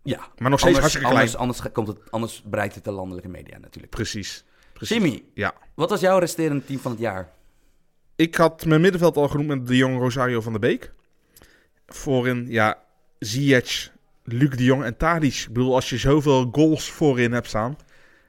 Ja.
Maar nog steeds hartstikke klein.
Anders, anders, ge- komt het, anders bereikt het de landelijke media natuurlijk.
Precies. Precies.
Jimmy,
Ja.
wat was jouw resterende team van het jaar?
Ik had mijn middenveld al genoemd met de jong Rosario van der Beek. Voorin, ja, Ziyech, Luc de Jong en Tadic. Ik bedoel, als je zoveel goals voorin hebt staan.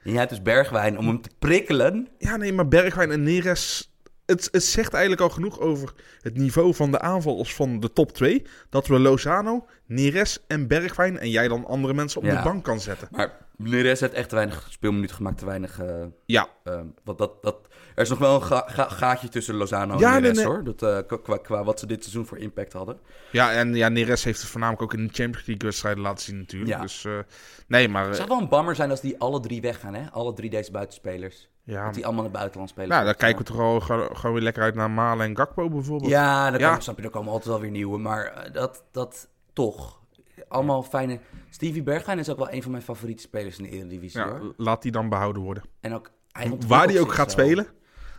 En jij hebt dus Bergwijn om hem te prikkelen.
Ja, nee, maar Bergwijn en Neres het, het zegt eigenlijk al genoeg over het niveau van de aanvallers van de top 2. Dat we Lozano, Neres en Bergwijn en jij dan andere mensen op
Ja.
de bank kan zetten.
Maar Neres heeft echt te weinig speelminuten gemaakt, te weinig... eh,
Ja,
ehm, want dat, dat, er is nog wel een ga- ga- gaatje tussen Lozano
Ja,
en Neres,
nee, nee.
hoor. Dat, eh, qua- qua, qua wat ze dit seizoen voor impact hadden.
ja en ja, Neres heeft het voornamelijk ook in de Champions League wedstrijden laten zien natuurlijk.
Ja.
Dus eh, nee, maar...
Het
eh,
zou wel een bammer zijn als die alle drie weggaan, hè? Alle drie deze buitenspelers.
ja,
Dat die allemaal naar het buitenland spelen.
nou, dan kijken we toch al, gewoon gewoon weer lekker uit naar Malen en Gakpo bijvoorbeeld.
Ja, dan
Ja.
Kan, snap je, er komen altijd wel weer nieuwe. Maar eh, dat, dat toch. Allemaal fijne... Stevie Bergwijn is ook wel een van mijn favoriete spelers in de Eredivisie,
Ja,
hoor.
laat die dan behouden worden.
En ook, hij
Waar
ontwikkelt
die ook
zich
gaat
zo.
spelen.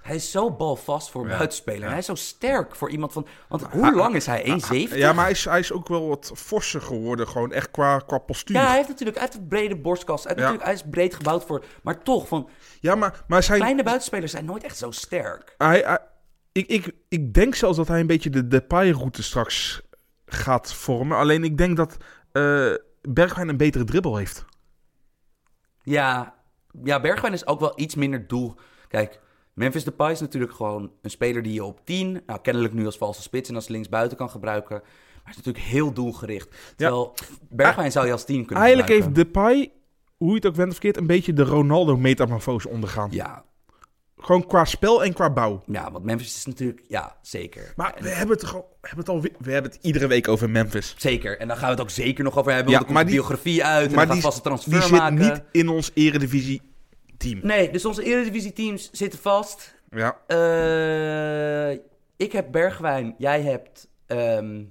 Hij is zo balvast voor een
Ja.
buitenspeler.
Ja.
Hij is zo sterk voor iemand van... Want hoe lang is hij? 1,70?
Ja, maar hij is, hij is ook wel wat forser geworden, gewoon echt qua, qua postuur.
Ja, hij
Ja,
heeft natuurlijk uit een brede borstkast. Hij, heeft
Ja.
natuurlijk, hij is breed gebouwd voor... Maar toch, van
maar, maar zijn,
kleine buitenspelers zijn nooit echt zo sterk.
hij, hij- ik, ik, ik denk zelfs dat hij een beetje de Depay-route straks gaat vormen. Alleen ik denk dat eh, Bergwijn een betere dribbel heeft.
Ja, ja, Bergwijn is ook wel iets minder doel. Kijk, Memphis Depay is natuurlijk gewoon een speler die je op 10, nou kennelijk nu als valse spits en als linksbuiten kan gebruiken. Maar hij is natuurlijk heel doelgericht. Terwijl Bergwijn zou je als 10 kunnen
Eigenlijk heeft
gebruiken.
Depay, hoe je het ook wendt of keert, een beetje de Ronaldo-metamorfose ondergaan.
Ja,
Gewoon qua spel en qua bouw.
ja, want Memphis is natuurlijk, ja, zeker.
Maar we hebben het toch al, we hebben het al, we hebben het iedere week over Memphis.
Zeker. En daar gaan we het ook zeker nog over hebben.
Ja,
want er
maar
komt de
die-
biografie uit en
maar
we gaan
die,
vast een
die
transfer
zit
maken.
niet in ons eredivisie-team.
Nee, dus onze eredivisie-teams zitten vast.
Ja.
Eh, ik heb Bergwijn, jij hebt ehm,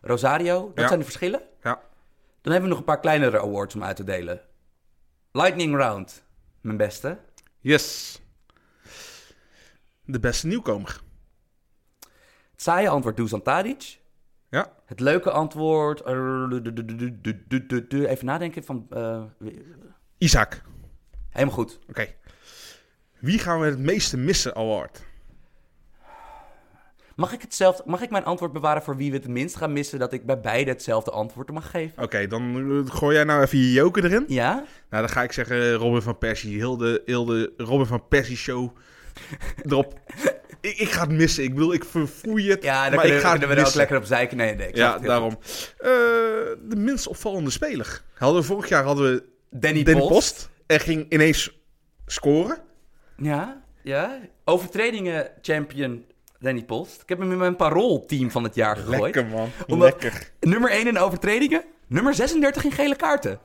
Rosario. Dat
Ja.
zijn de verschillen.
Ja.
Dan hebben we nog een paar kleinere awards om uit te delen. Lightning Round, mijn beste.
Yes. De beste nieuwkomer.
Het saaie antwoord Dusan Tadic.
Ja.
Het leuke antwoord... eh, Even nadenken van... eh,
Isaac.
helemaal goed.
Oké. Wie gaan we het meeste missen, Award?
Mag ik, hetzelfde, mag ik mijn antwoord bewaren voor wie we het minst gaan missen... dat ik bij beide hetzelfde antwoord mag geven?
Oké, dan eh, gooi jij nou even je joker erin.
Ja?
Nou, dan ga ik zeggen eh, Robin van Persie. Heel de, heel de Robin van Persie show erop. ik, ik ga het missen. Ik bedoel, ik verfoei het.
Ja, dan
maar
kunnen,
ik ga
kunnen we er
het
ook
missen.
lekker op zeiken. Nee, nee, ik snap
Ja,
het heel
daarom. Eh, de minst opvallende speler. Hadden we vorig jaar hadden we
goed. Danny,
Den
Post.
Post. En ging ineens scoren.
Ja, ja. Overtredingen champion Danny Post. Ik heb hem in mijn paroolteam van het jaar gegooid.
Lekker, man.
Omdat-
Lekker.
Nummer 1 in overtredingen, nummer 36 in gele kaarten.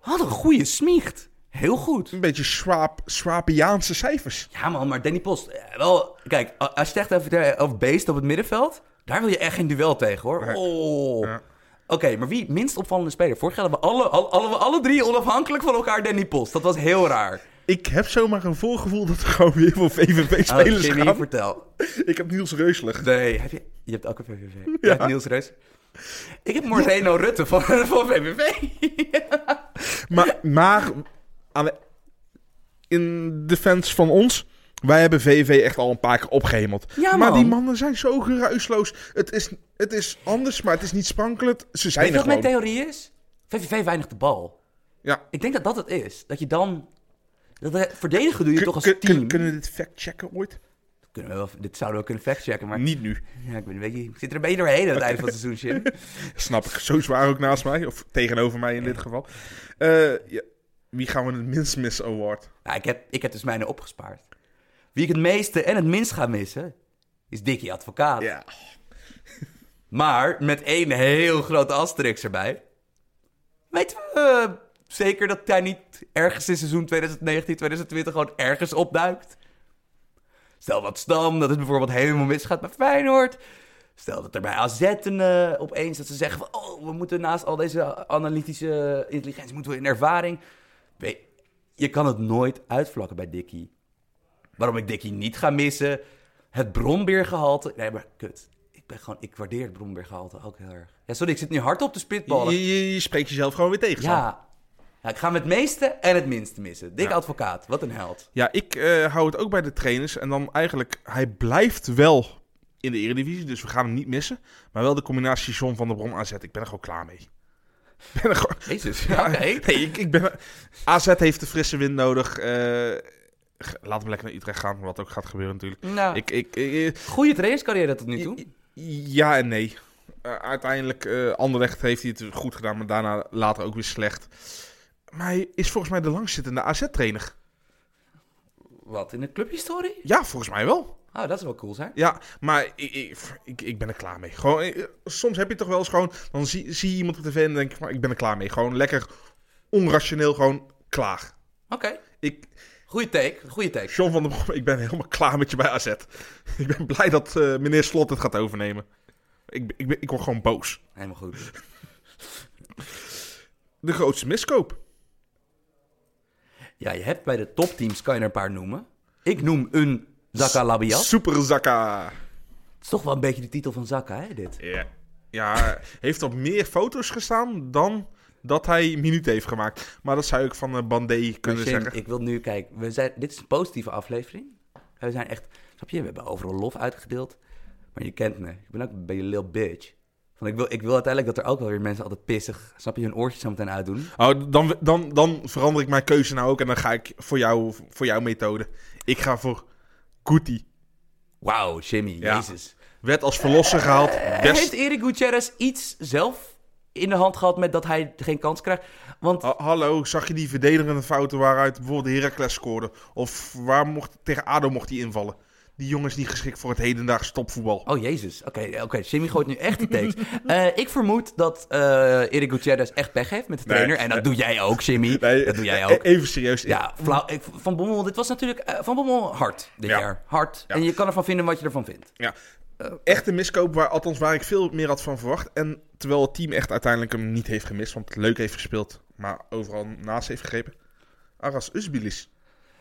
Had een goede smiecht. Heel goed.
Een beetje Swaap, Swapiaanse cijfers.
Ja man, maar Danny Post, eh, wel, kijk, a- als je het echt even over beest op het middenveld, daar wil je echt geen duel tegen hoor. Oh.
Ja.
Oké, maar wie minst opvallende speler? Vorig jaar hadden we alle, alle, alle, alle drie onafhankelijk van elkaar Danny Post. Dat was heel raar.
Ik heb zomaar een voorgevoel dat er gewoon weer veel
Oh,
VVV-spelers
Jimmy,
gaan.
vertel.
Ik heb Niels Reuselig.
Nee, heb je, je hebt ook een VVV. Je hebt Niels Reus. Ik heb Moreno Rutte van, van VVV.
Maar, maar aan de- in de fans van ons, wij hebben VVV echt al een paar keer opgehemeld.
Ja,
Maar
man.
die mannen zijn zo geruisloos. Het is, het is anders, maar het is niet sprankelend. Ze
Weet
zijn
je
er
wat mijn
gewoon.
theorie is? VVV weinig de bal.
Ja.
Ik denk dat dat het is. Dat je dan... Dat eh, verdedigen doe je toch als
Kun-
team.
kun- kunnen we dit fact-checken ooit?
Kunnen we wel, dit zouden we kunnen factchecken, maar
Niet nu.
ja, ik, ben een beetje, ik zit er een beetje doorheen aan het einde van het seizoen, Jim.
Snap ik. Zo zwaar ook naast mij. Of tegenover mij in dit geval. Eh, ja. Wie gaan we het minst missen award?
Nou, ik, heb, ik heb dus mijne opgespaard. Wie ik het meeste en het minst ga missen, is Dickie Advocaat.
Ja.
Maar met één heel grote asterix erbij. Weten we eh, zeker dat hij niet ergens in seizoen 2019, 2020 gewoon ergens opduikt? Stel dat Stam, dat het bijvoorbeeld helemaal misgaat bij Feyenoord. Stel dat er bij AZ een, eh, opeens dat ze zeggen van... Oh, we moeten naast al deze analytische intelligentie moeten we in ervaring. Weet- je kan het nooit uitvlakken bij Dickie. Waarom ik Dickie niet ga missen. Het bronbeergehalte. Nee, maar kut. Ik ben gewoon... Ik waardeer het bronbeergehalte ook heel erg. Ja, sorry, ik zit nu hard op de spitballen.
Je, je, je spreekt jezelf gewoon weer tegen. Sam.
Ja. Ja, ik ga hem het meeste en het minste missen. Dikke advocaat, wat een held.
Ja, ik eh, hou het ook bij de trainers. En dan eigenlijk, hij blijft wel in de eredivisie, dus we gaan hem niet missen. Maar wel de combinatie John van der Bron AZ. Ik ben er gewoon klaar mee. Ik ben er gewoon...
Jezus, ja, oké.
Nee, ik, ik ben er- AZ heeft de frisse wind nodig. eh, G- Laat hem lekker naar Utrecht gaan, wat ook gaat gebeuren natuurlijk.
Nou,
Ik, ik, ik-
goede trainingscarrière tot nu toe.
I- ja en nee. Eh, uiteindelijk, eh Anderlecht heeft hij het goed gedaan, maar daarna later ook weer slecht. Maar hij is volgens mij de langzittende AZ-trainer.
Wat, in de clubhistorie?
Ja, volgens mij wel.
Oh, dat zou wel cool zijn.
Ja, maar ik, ik, ik, ik ben er klaar mee. Gewoon, eh, soms heb je toch wel eens gewoon... Dan zie, zie je iemand op tv en denk ik, maar ik ben er klaar mee. Gewoon lekker onrationeel, gewoon klaar.
Oké,
Ik,
goede take, goede take.
John van der Brom, ik ben helemaal klaar met je bij AZ. Ik ben blij dat eh, meneer Slot het gaat overnemen. Ik, ik, ben- ik word gewoon boos.
Helemaal goed.
De grootste miskoop.
Ja, je hebt bij de topteams, kan je er een paar noemen. Ik noem een Zaka Labiat.
Super Zakka.
Het is toch wel een beetje de titel van Zaka, hè, dit?
Ja. ja, heeft op meer foto's gestaan dan dat hij minuten heeft gemaakt. Maar dat zou ik van eh, Bandé kunnen
Shin,
zeggen.
ik wil nu kijken. We zijn, dit is een positieve aflevering. We zijn echt, snap je, we hebben overal lof uitgedeeld. Maar je kent me. Ik ben ook een beetje een lil bitch. Van, ik, wil, ik wil uiteindelijk dat er ook wel weer mensen altijd pissig, snap je, hun oortjes zo meteen uitdoen.
Oh, dan, dan, dan verander ik mijn keuze nou ook en dan ga ik voor, jou, voor jouw methode. Ik ga voor Guti.
Wauw, Jimmy,
Ja.
jezus.
Werd als verlosser gehaald.
Heeft
Best...
Erik Gutierrez iets zelf in de hand gehad met dat hij geen kans krijgt? Want
Ha- hallo, zag je die verdedigende fouten waaruit bijvoorbeeld Heracles scoorde? Of waar mocht, tegen ADO mocht hij invallen? Die jongen is niet geschikt voor het hedendaagse topvoetbal.
Oh jezus, oké, oké. Jimmy gooit nu echt die takes. Eh, ik vermoed dat eh Erik Gutierrez echt pech heeft met de
Nee,
trainer. en dat doe jij ook, Jimmy. dat doe jij
e-
ook.
Even serieus.
Ja, flauw. Ik, van Bommel, dit was natuurlijk eh, Van Bommel hard dit
Ja.
jaar. Hard.
Ja.
En je kan ervan vinden wat je ervan vindt.
Ja. Echt een miskoop, waar, althans waar ik veel meer had van verwacht. En terwijl het team echt uiteindelijk hem niet heeft gemist, want het leuk heeft gespeeld, maar overal naast heeft gegrepen. Aras Usbilis.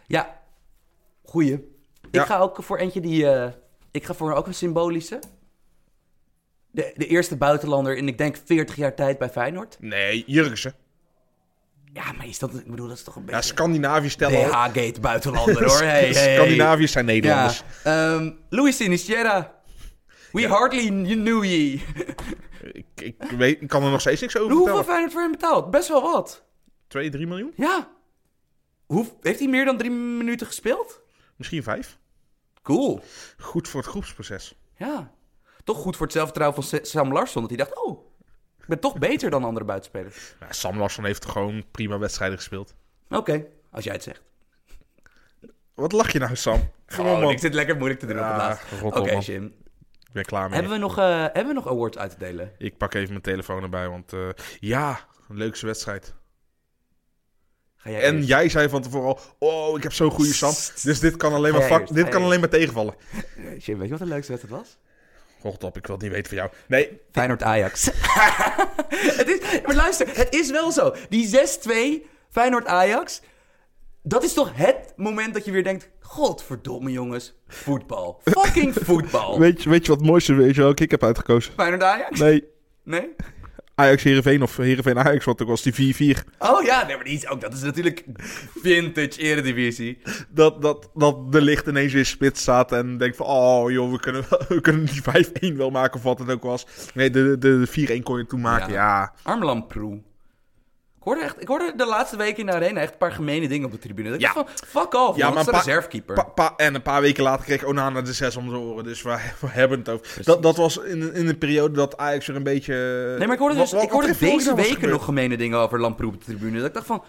Ja, goeie.
Ja.
Ik ga ook voor eentje die... eh, ik ga voor ook een symbolische. De, de eerste buitenlander in, ik denk, 40 jaar tijd bij Feyenoord.
Nee, Jurgensen.
Ja, maar is dat... Ik bedoel, dat is toch een
Ja,
beetje...
Scandinavië stellen. al.
DH-gate buitenlander, hoor. Hey, hey.
Scandinaviërs zijn Nederlanders.
Ja, ehm, Luis Sinisterra. We
Ja.
hardly knew ye.
Ik, ik, weet, ik kan er nog steeds niks over
Hoeveel
vertellen.
Feyenoord voor hem betaald? Best wel wat.
2, 3 miljoen?
Ja. Hoe, heeft hij meer dan drie minuten gespeeld?
Misschien 5.
Cool.
Goed voor het groepsproces.
Ja. Toch goed voor het zelfvertrouwen van Sa- Sam Larsson. Dat hij dacht, oh, ik ben toch beter dan andere buitenspelers.
Nou, Sam Larsson heeft gewoon prima wedstrijden gespeeld.
Oké, als jij het zegt.
Wat lach je nou, Sam? Kom op,
Oh,
man.
ik zit lekker moeilijk te doen op
Ja,
het laatst.
rot op,
Oké,
man.
Jim.
Ik ben klaar mee.
Hebben, we nog, eh, hebben we nog awards uit te delen?
Ik pak even mijn telefoon erbij, want eh, ja, een leukste wedstrijd.
Ga jij
En
eerst?
jij zei van tevoren al, oh, ik heb zo'n goede Sam. Dus dit kan alleen maar,
Ga jij
vak-
eerst,
dit
ga
kan
jij
alleen maar tegenvallen.
Eh, Jim, weet je wat de leukste wedstrijd was?
Rot op, ik wil het niet weten van jou. Nee,
Feyenoord-Ajax. het is, maar luister, het is wel zo. Die 6-2 Feyenoord-Ajax, dat is toch het moment dat je weer denkt... Godverdomme jongens, voetbal. Fucking voetbal.
Oh. weet je, weet je wat het mooiste is welke ik heb uitgekozen?
Feyenoord-Ajax?
Nee,
Nee?
Ajax Heerenveen of Heerenveen Ajax, want ook was die 4-4.
Oh ja, nee, maar die is ook, dat is natuurlijk vintage eredivisie.
Dat, dat, dat de licht ineens weer spits staat en denkt van, oh joh, we kunnen, wel- we kunnen die 5-1 wel maken of wat het ook was. Nee, de, de, de 4-1 kon je toen maken, ja.
Armlamproe. Ik hoorde, echt, ik hoorde de laatste weken in de arena echt een paar gemene dingen op de tribune. Dat ik
Ja.
dacht van, fuck off, ja,
Ja,
man, dat is
maar pa-
een reservekeeper.
Pa- pa- en een paar weken later kreeg Onana de 6 om de oren. Dus we, we hebben het over. Dat, dat was in, in een periode dat Ajax er een beetje.
nee, maar ik hoorde,
Wat-
dus,
wat-
ik
wat
hoorde
er volgende
deze
was
weken
gebeurd?
nog gemene dingen over Lamproe op de tribune. Dat ik dacht van,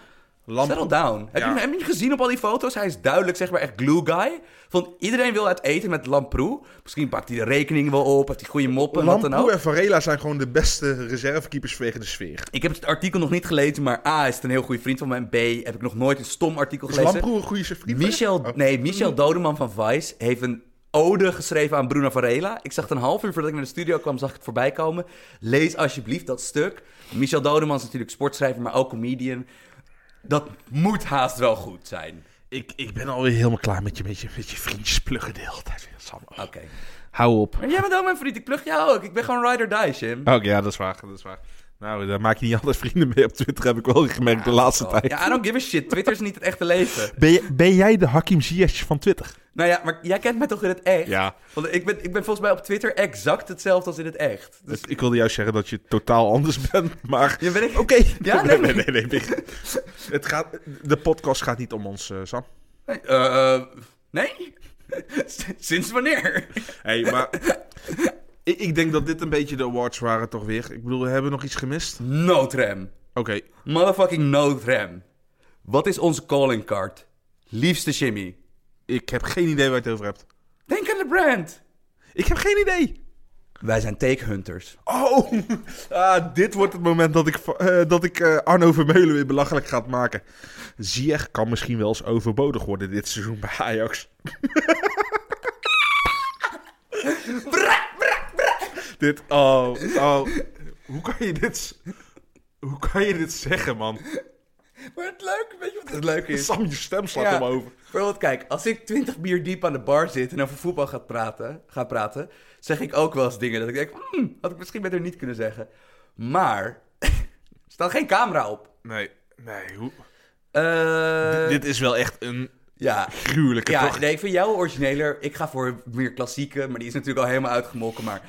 Lam-
Settle down. Heb,
Ja.
je, heb je niet gezien op al die foto's? Hij is duidelijk zeg maar echt glue guy. Van iedereen wil uit eten met Lamproe. Misschien pakt hij de rekening wel op, heeft hij goede moppen en wat dan
Lamproe
ook.
en Varela zijn gewoon de beste reservekeepers vanwege de sfeer.
Ik heb het artikel nog niet gelezen, maar A is het een heel goede vriend van mij. En B heb ik nog nooit een stom artikel
Is
gelezen.
Lamproe een goede vriend?
Michel,
Oh.
nee, Michel Dodeman van Vice heeft een ode geschreven aan Bruno Varela. Ik zag het een half uur voordat ik naar de studio kwam, zag ik het voorbij komen. Lees alsjeblieft dat stuk. Michel Dodeman is natuurlijk sportschrijver, maar ook comedian. Dat moet haast wel goed zijn.
Ik, ik ben alweer helemaal klaar met je, met je, met je vriendjes pluggen de hele tijd. weer, Sam.
Oké.
Hou op.
Maar jij bent ook mijn vriend, ik plug jou ook. Ik ben gewoon ride or die, Jim.
Oké, ja, dat is waar. Dat is waar. Nou, daar maak je niet altijd vrienden mee op Twitter, heb ik wel gemerkt de laatste tijd.
Ja, I don't give a shit. Twitter is niet het echte leven.
Ben, je- ben jij de Hakim Ziyech van Twitter?
Nou ja, maar jij kent mij toch in het echt?
Ja.
Want ik ben, ik ben volgens mij op Twitter exact hetzelfde als in het echt. Dus
Ik wilde juist zeggen dat je totaal anders bent, maar...
je ben ik...
Oké.
Ja,
nee,
nee,
nee, nee. nee. het gaat, de podcast gaat niet om ons, eh, Sam.
Nee. eh, eh, nee? Sinds wanneer?
Hé, maar... ik, ik denk dat dit een beetje de awards waren toch weer. Ik bedoel, hebben we nog iets gemist? Oké.
Noodrem. Motherfucking noodrem. Wat is onze calling card? Liefste Jimmy.
Ik heb geen idee waar je het over hebt.
Denk aan de brand.
Ik heb geen idee.
Wij zijn takehunters.
Oh, ah, dit wordt het moment dat ik, va- eh, dat ik eh, Arno Vermeulen weer belachelijk gaat maken. Ziyech kan misschien wel eens overbodig worden dit seizoen bij Ajax. Bra, bra, bra. Dit, oh, oh. Hoe kan je dit, s- hoe kan je dit zeggen, man?
Maar het leuke, weet je wat het leuke is?
Sam, je stem slaat
Ja,
omhoog.
Bijvoorbeeld, kijk, als ik 20 bier diep aan de bar zit en over voetbal ga praten, ga praten, zeg ik ook wel eens dingen dat ik denk, "Hmm, had ik misschien beter niet kunnen zeggen. Maar, er staat geen camera op.
Nee, nee, hoe...
Eh,
dit is wel echt een
ja.
gruwelijke,
Ja,
toch?
nee, ik vind jou origineler. Ik ga voor meer klassieke, maar die is natuurlijk al helemaal uitgemolken. Maar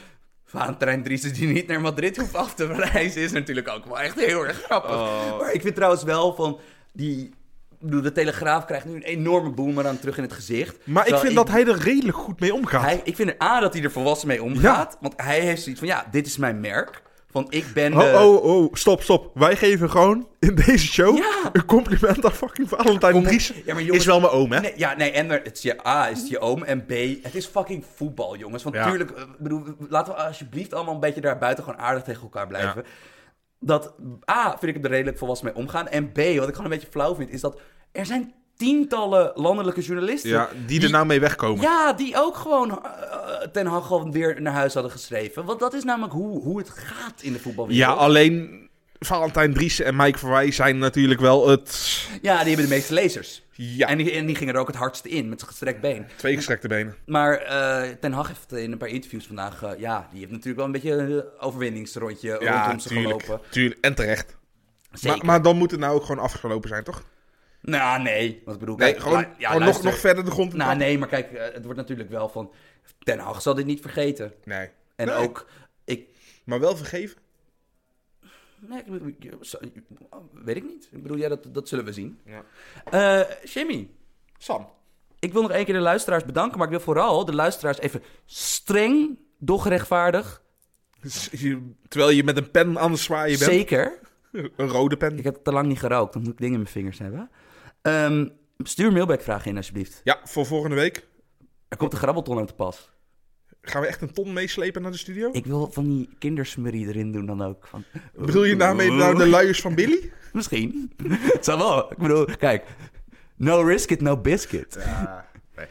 Valentijn Driessen die niet naar Madrid hoeft af te reizen, is natuurlijk ook wel echt heel erg grappig.
Oh.
Maar ik vind trouwens wel van die... ik bedoel, De Telegraaf krijgt nu een enorme boemerang terug in het gezicht.
Maar ik
Terwijl
vind dat hij er redelijk goed mee omgaat.
hij, ik vind er A, dat hij er volwassen mee omgaat. Want hij heeft zoiets van, ja, dit is mijn merk. Van, ik ben de...
Oh, oh, oh, stop, stop. Wij geven gewoon in deze show
Ja.
een compliment aan fucking Valentijn
Kom op.
Dries.
Ja, maar jongens-
is wel mijn oom, hè?
Nee, ja, nee, en er- het is je A, is het je oom. En B, het is fucking voetbal, jongens. Want
Ja.
tuurlijk, eh, ik bedoel, laten we alsjeblieft allemaal een beetje daar buiten gewoon aardig tegen elkaar blijven. Dat A, vind ik hem er redelijk volwassen mee omgaan. En B, wat ik gewoon een beetje flauw vind, is dat er zijn tientallen landelijke journalisten...
Ja, die er nou mee wegkomen.
Ja, die ook gewoon eh, Ten Hag gewoon weer naar huis hadden geschreven. Want dat is namelijk hoe, hoe het gaat in de
Ja,
voetbalwereld.
alleen Valentijn Dries en Mike Verwij zijn natuurlijk wel het...
Ja, die hebben de meeste lezers.
Ja.
En, die, en die gingen er ook het hardst in, met zijn gestrekt been.
Twee gestrekte benen.
Maar eh, Ten Hag heeft in een paar interviews vandaag... eh, ja, die heeft natuurlijk wel een beetje een overwinningsrondje
Ja,
rondom zich
tuurlijk.
gelopen.
tuurlijk. En terecht.
Zeker.
Maar, maar dan moet het nou ook gewoon afgelopen zijn, toch?
Nou, nee. Wat ik bedoel
Nee,
kijk,
gewoon,
la- ja,
gewoon nog,
luister.
nog verder de grond in
Nou,
trappen.
nee, maar kijk, eh, het wordt natuurlijk wel van... Ten Hag zal dit niet vergeten.
nee.
En
Nee,
ook... Ik,
Maar wel vergeven.
nee, ik- ik- zo- weet ik niet. Ik bedoel, ja, dat, dat zullen we zien.
Ja.
Eh, Jimmy,
Sam.
ik wil nog één keer de luisteraars bedanken... maar ik wil vooral de luisteraars even streng, doch rechtvaardig...
Dus je- terwijl je met een pen aan het zwaaien bent.
zeker...
Een rode pen.
Ik heb te lang niet gerookt, dan moet ik dingen in mijn vingers hebben. Ehm, stuur mailbackvragen in, alsjeblieft.
Ja, voor volgende week.
Er komt een grabbelton aan te pas.
Gaan we echt een ton meeslepen naar de studio?
Ik wil van die kindersmurrie erin doen dan ook. Van,
Bedoel je daarmee nou de luiers van Billy?
Misschien. Het zou wel. Ik bedoel, kijk. No risk it, no biscuit.
nee,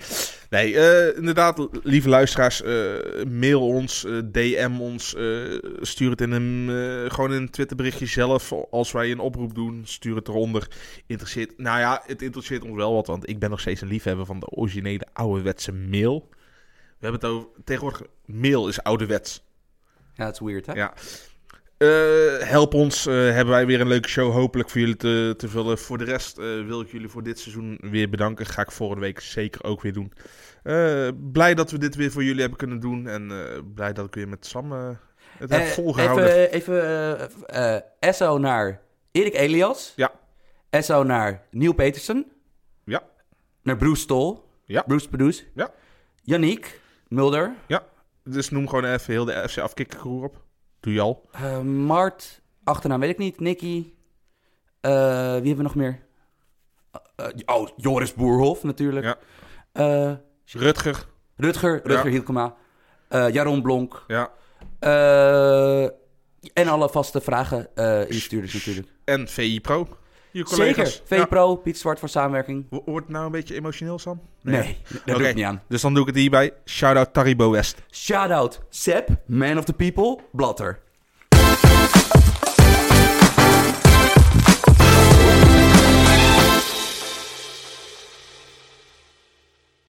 nee eh, inderdaad, lieve luisteraars, eh, mail ons, eh, DM ons, eh, stuur het in een, eh, gewoon in een Twitterberichtje zelf. Als wij een oproep doen, stuur het eronder. Interesseert, nou ja, het interesseert ons wel wat, want ik ben nog steeds een liefhebber van de originele ouderwetse mail. We hebben het over, tegenwoordig, mail is ouderwets.
Ja, dat is weird, hè?
Ja. Eh, help ons. eh, hebben wij weer een leuke show hopelijk voor jullie te, te vullen. Voor de rest eh, wil ik jullie voor dit seizoen weer bedanken. Ga ik volgende week zeker ook weer doen. Eh, blij dat we dit weer voor jullie hebben kunnen doen. En eh, blij dat ik weer met Sam eh, het heb
Eh,
volgehouden.
even even eh, eh, SO naar Erik Elias.
Ja.
SO naar Neil Petersen.
Ja.
Naar Bruce Tol.
Ja.
Bruce Produce.
Ja.
Yannick Mulder.
Dus noem gewoon even heel de FC afkikkercrew op. Doe je al.
Eh, Mart, achternaam weet ik niet. Nicky. Eh, wie hebben we nog meer? Eh, eh, oh, Joris Boerhof natuurlijk.
Ja.
Eh,
Rutger.
Rutger, Rutger
Ja.
Hielkema. Eh, Jaron Blonk.
Ja.
Eh, en alle vaste vragen eh instuurders natuurlijk.
En VI Pro. Je collega's.
Zeker. VPro, Piet Zwart voor samenwerking.
Ja. Wo- Wordt het nou een beetje emotioneel, Sam?
Nee, dat doe
Oké,
ik niet aan.
Dus dan doe ik het hierbij. Shout-out Taribo West.
Shout-out Seb, man of the people, Blatter.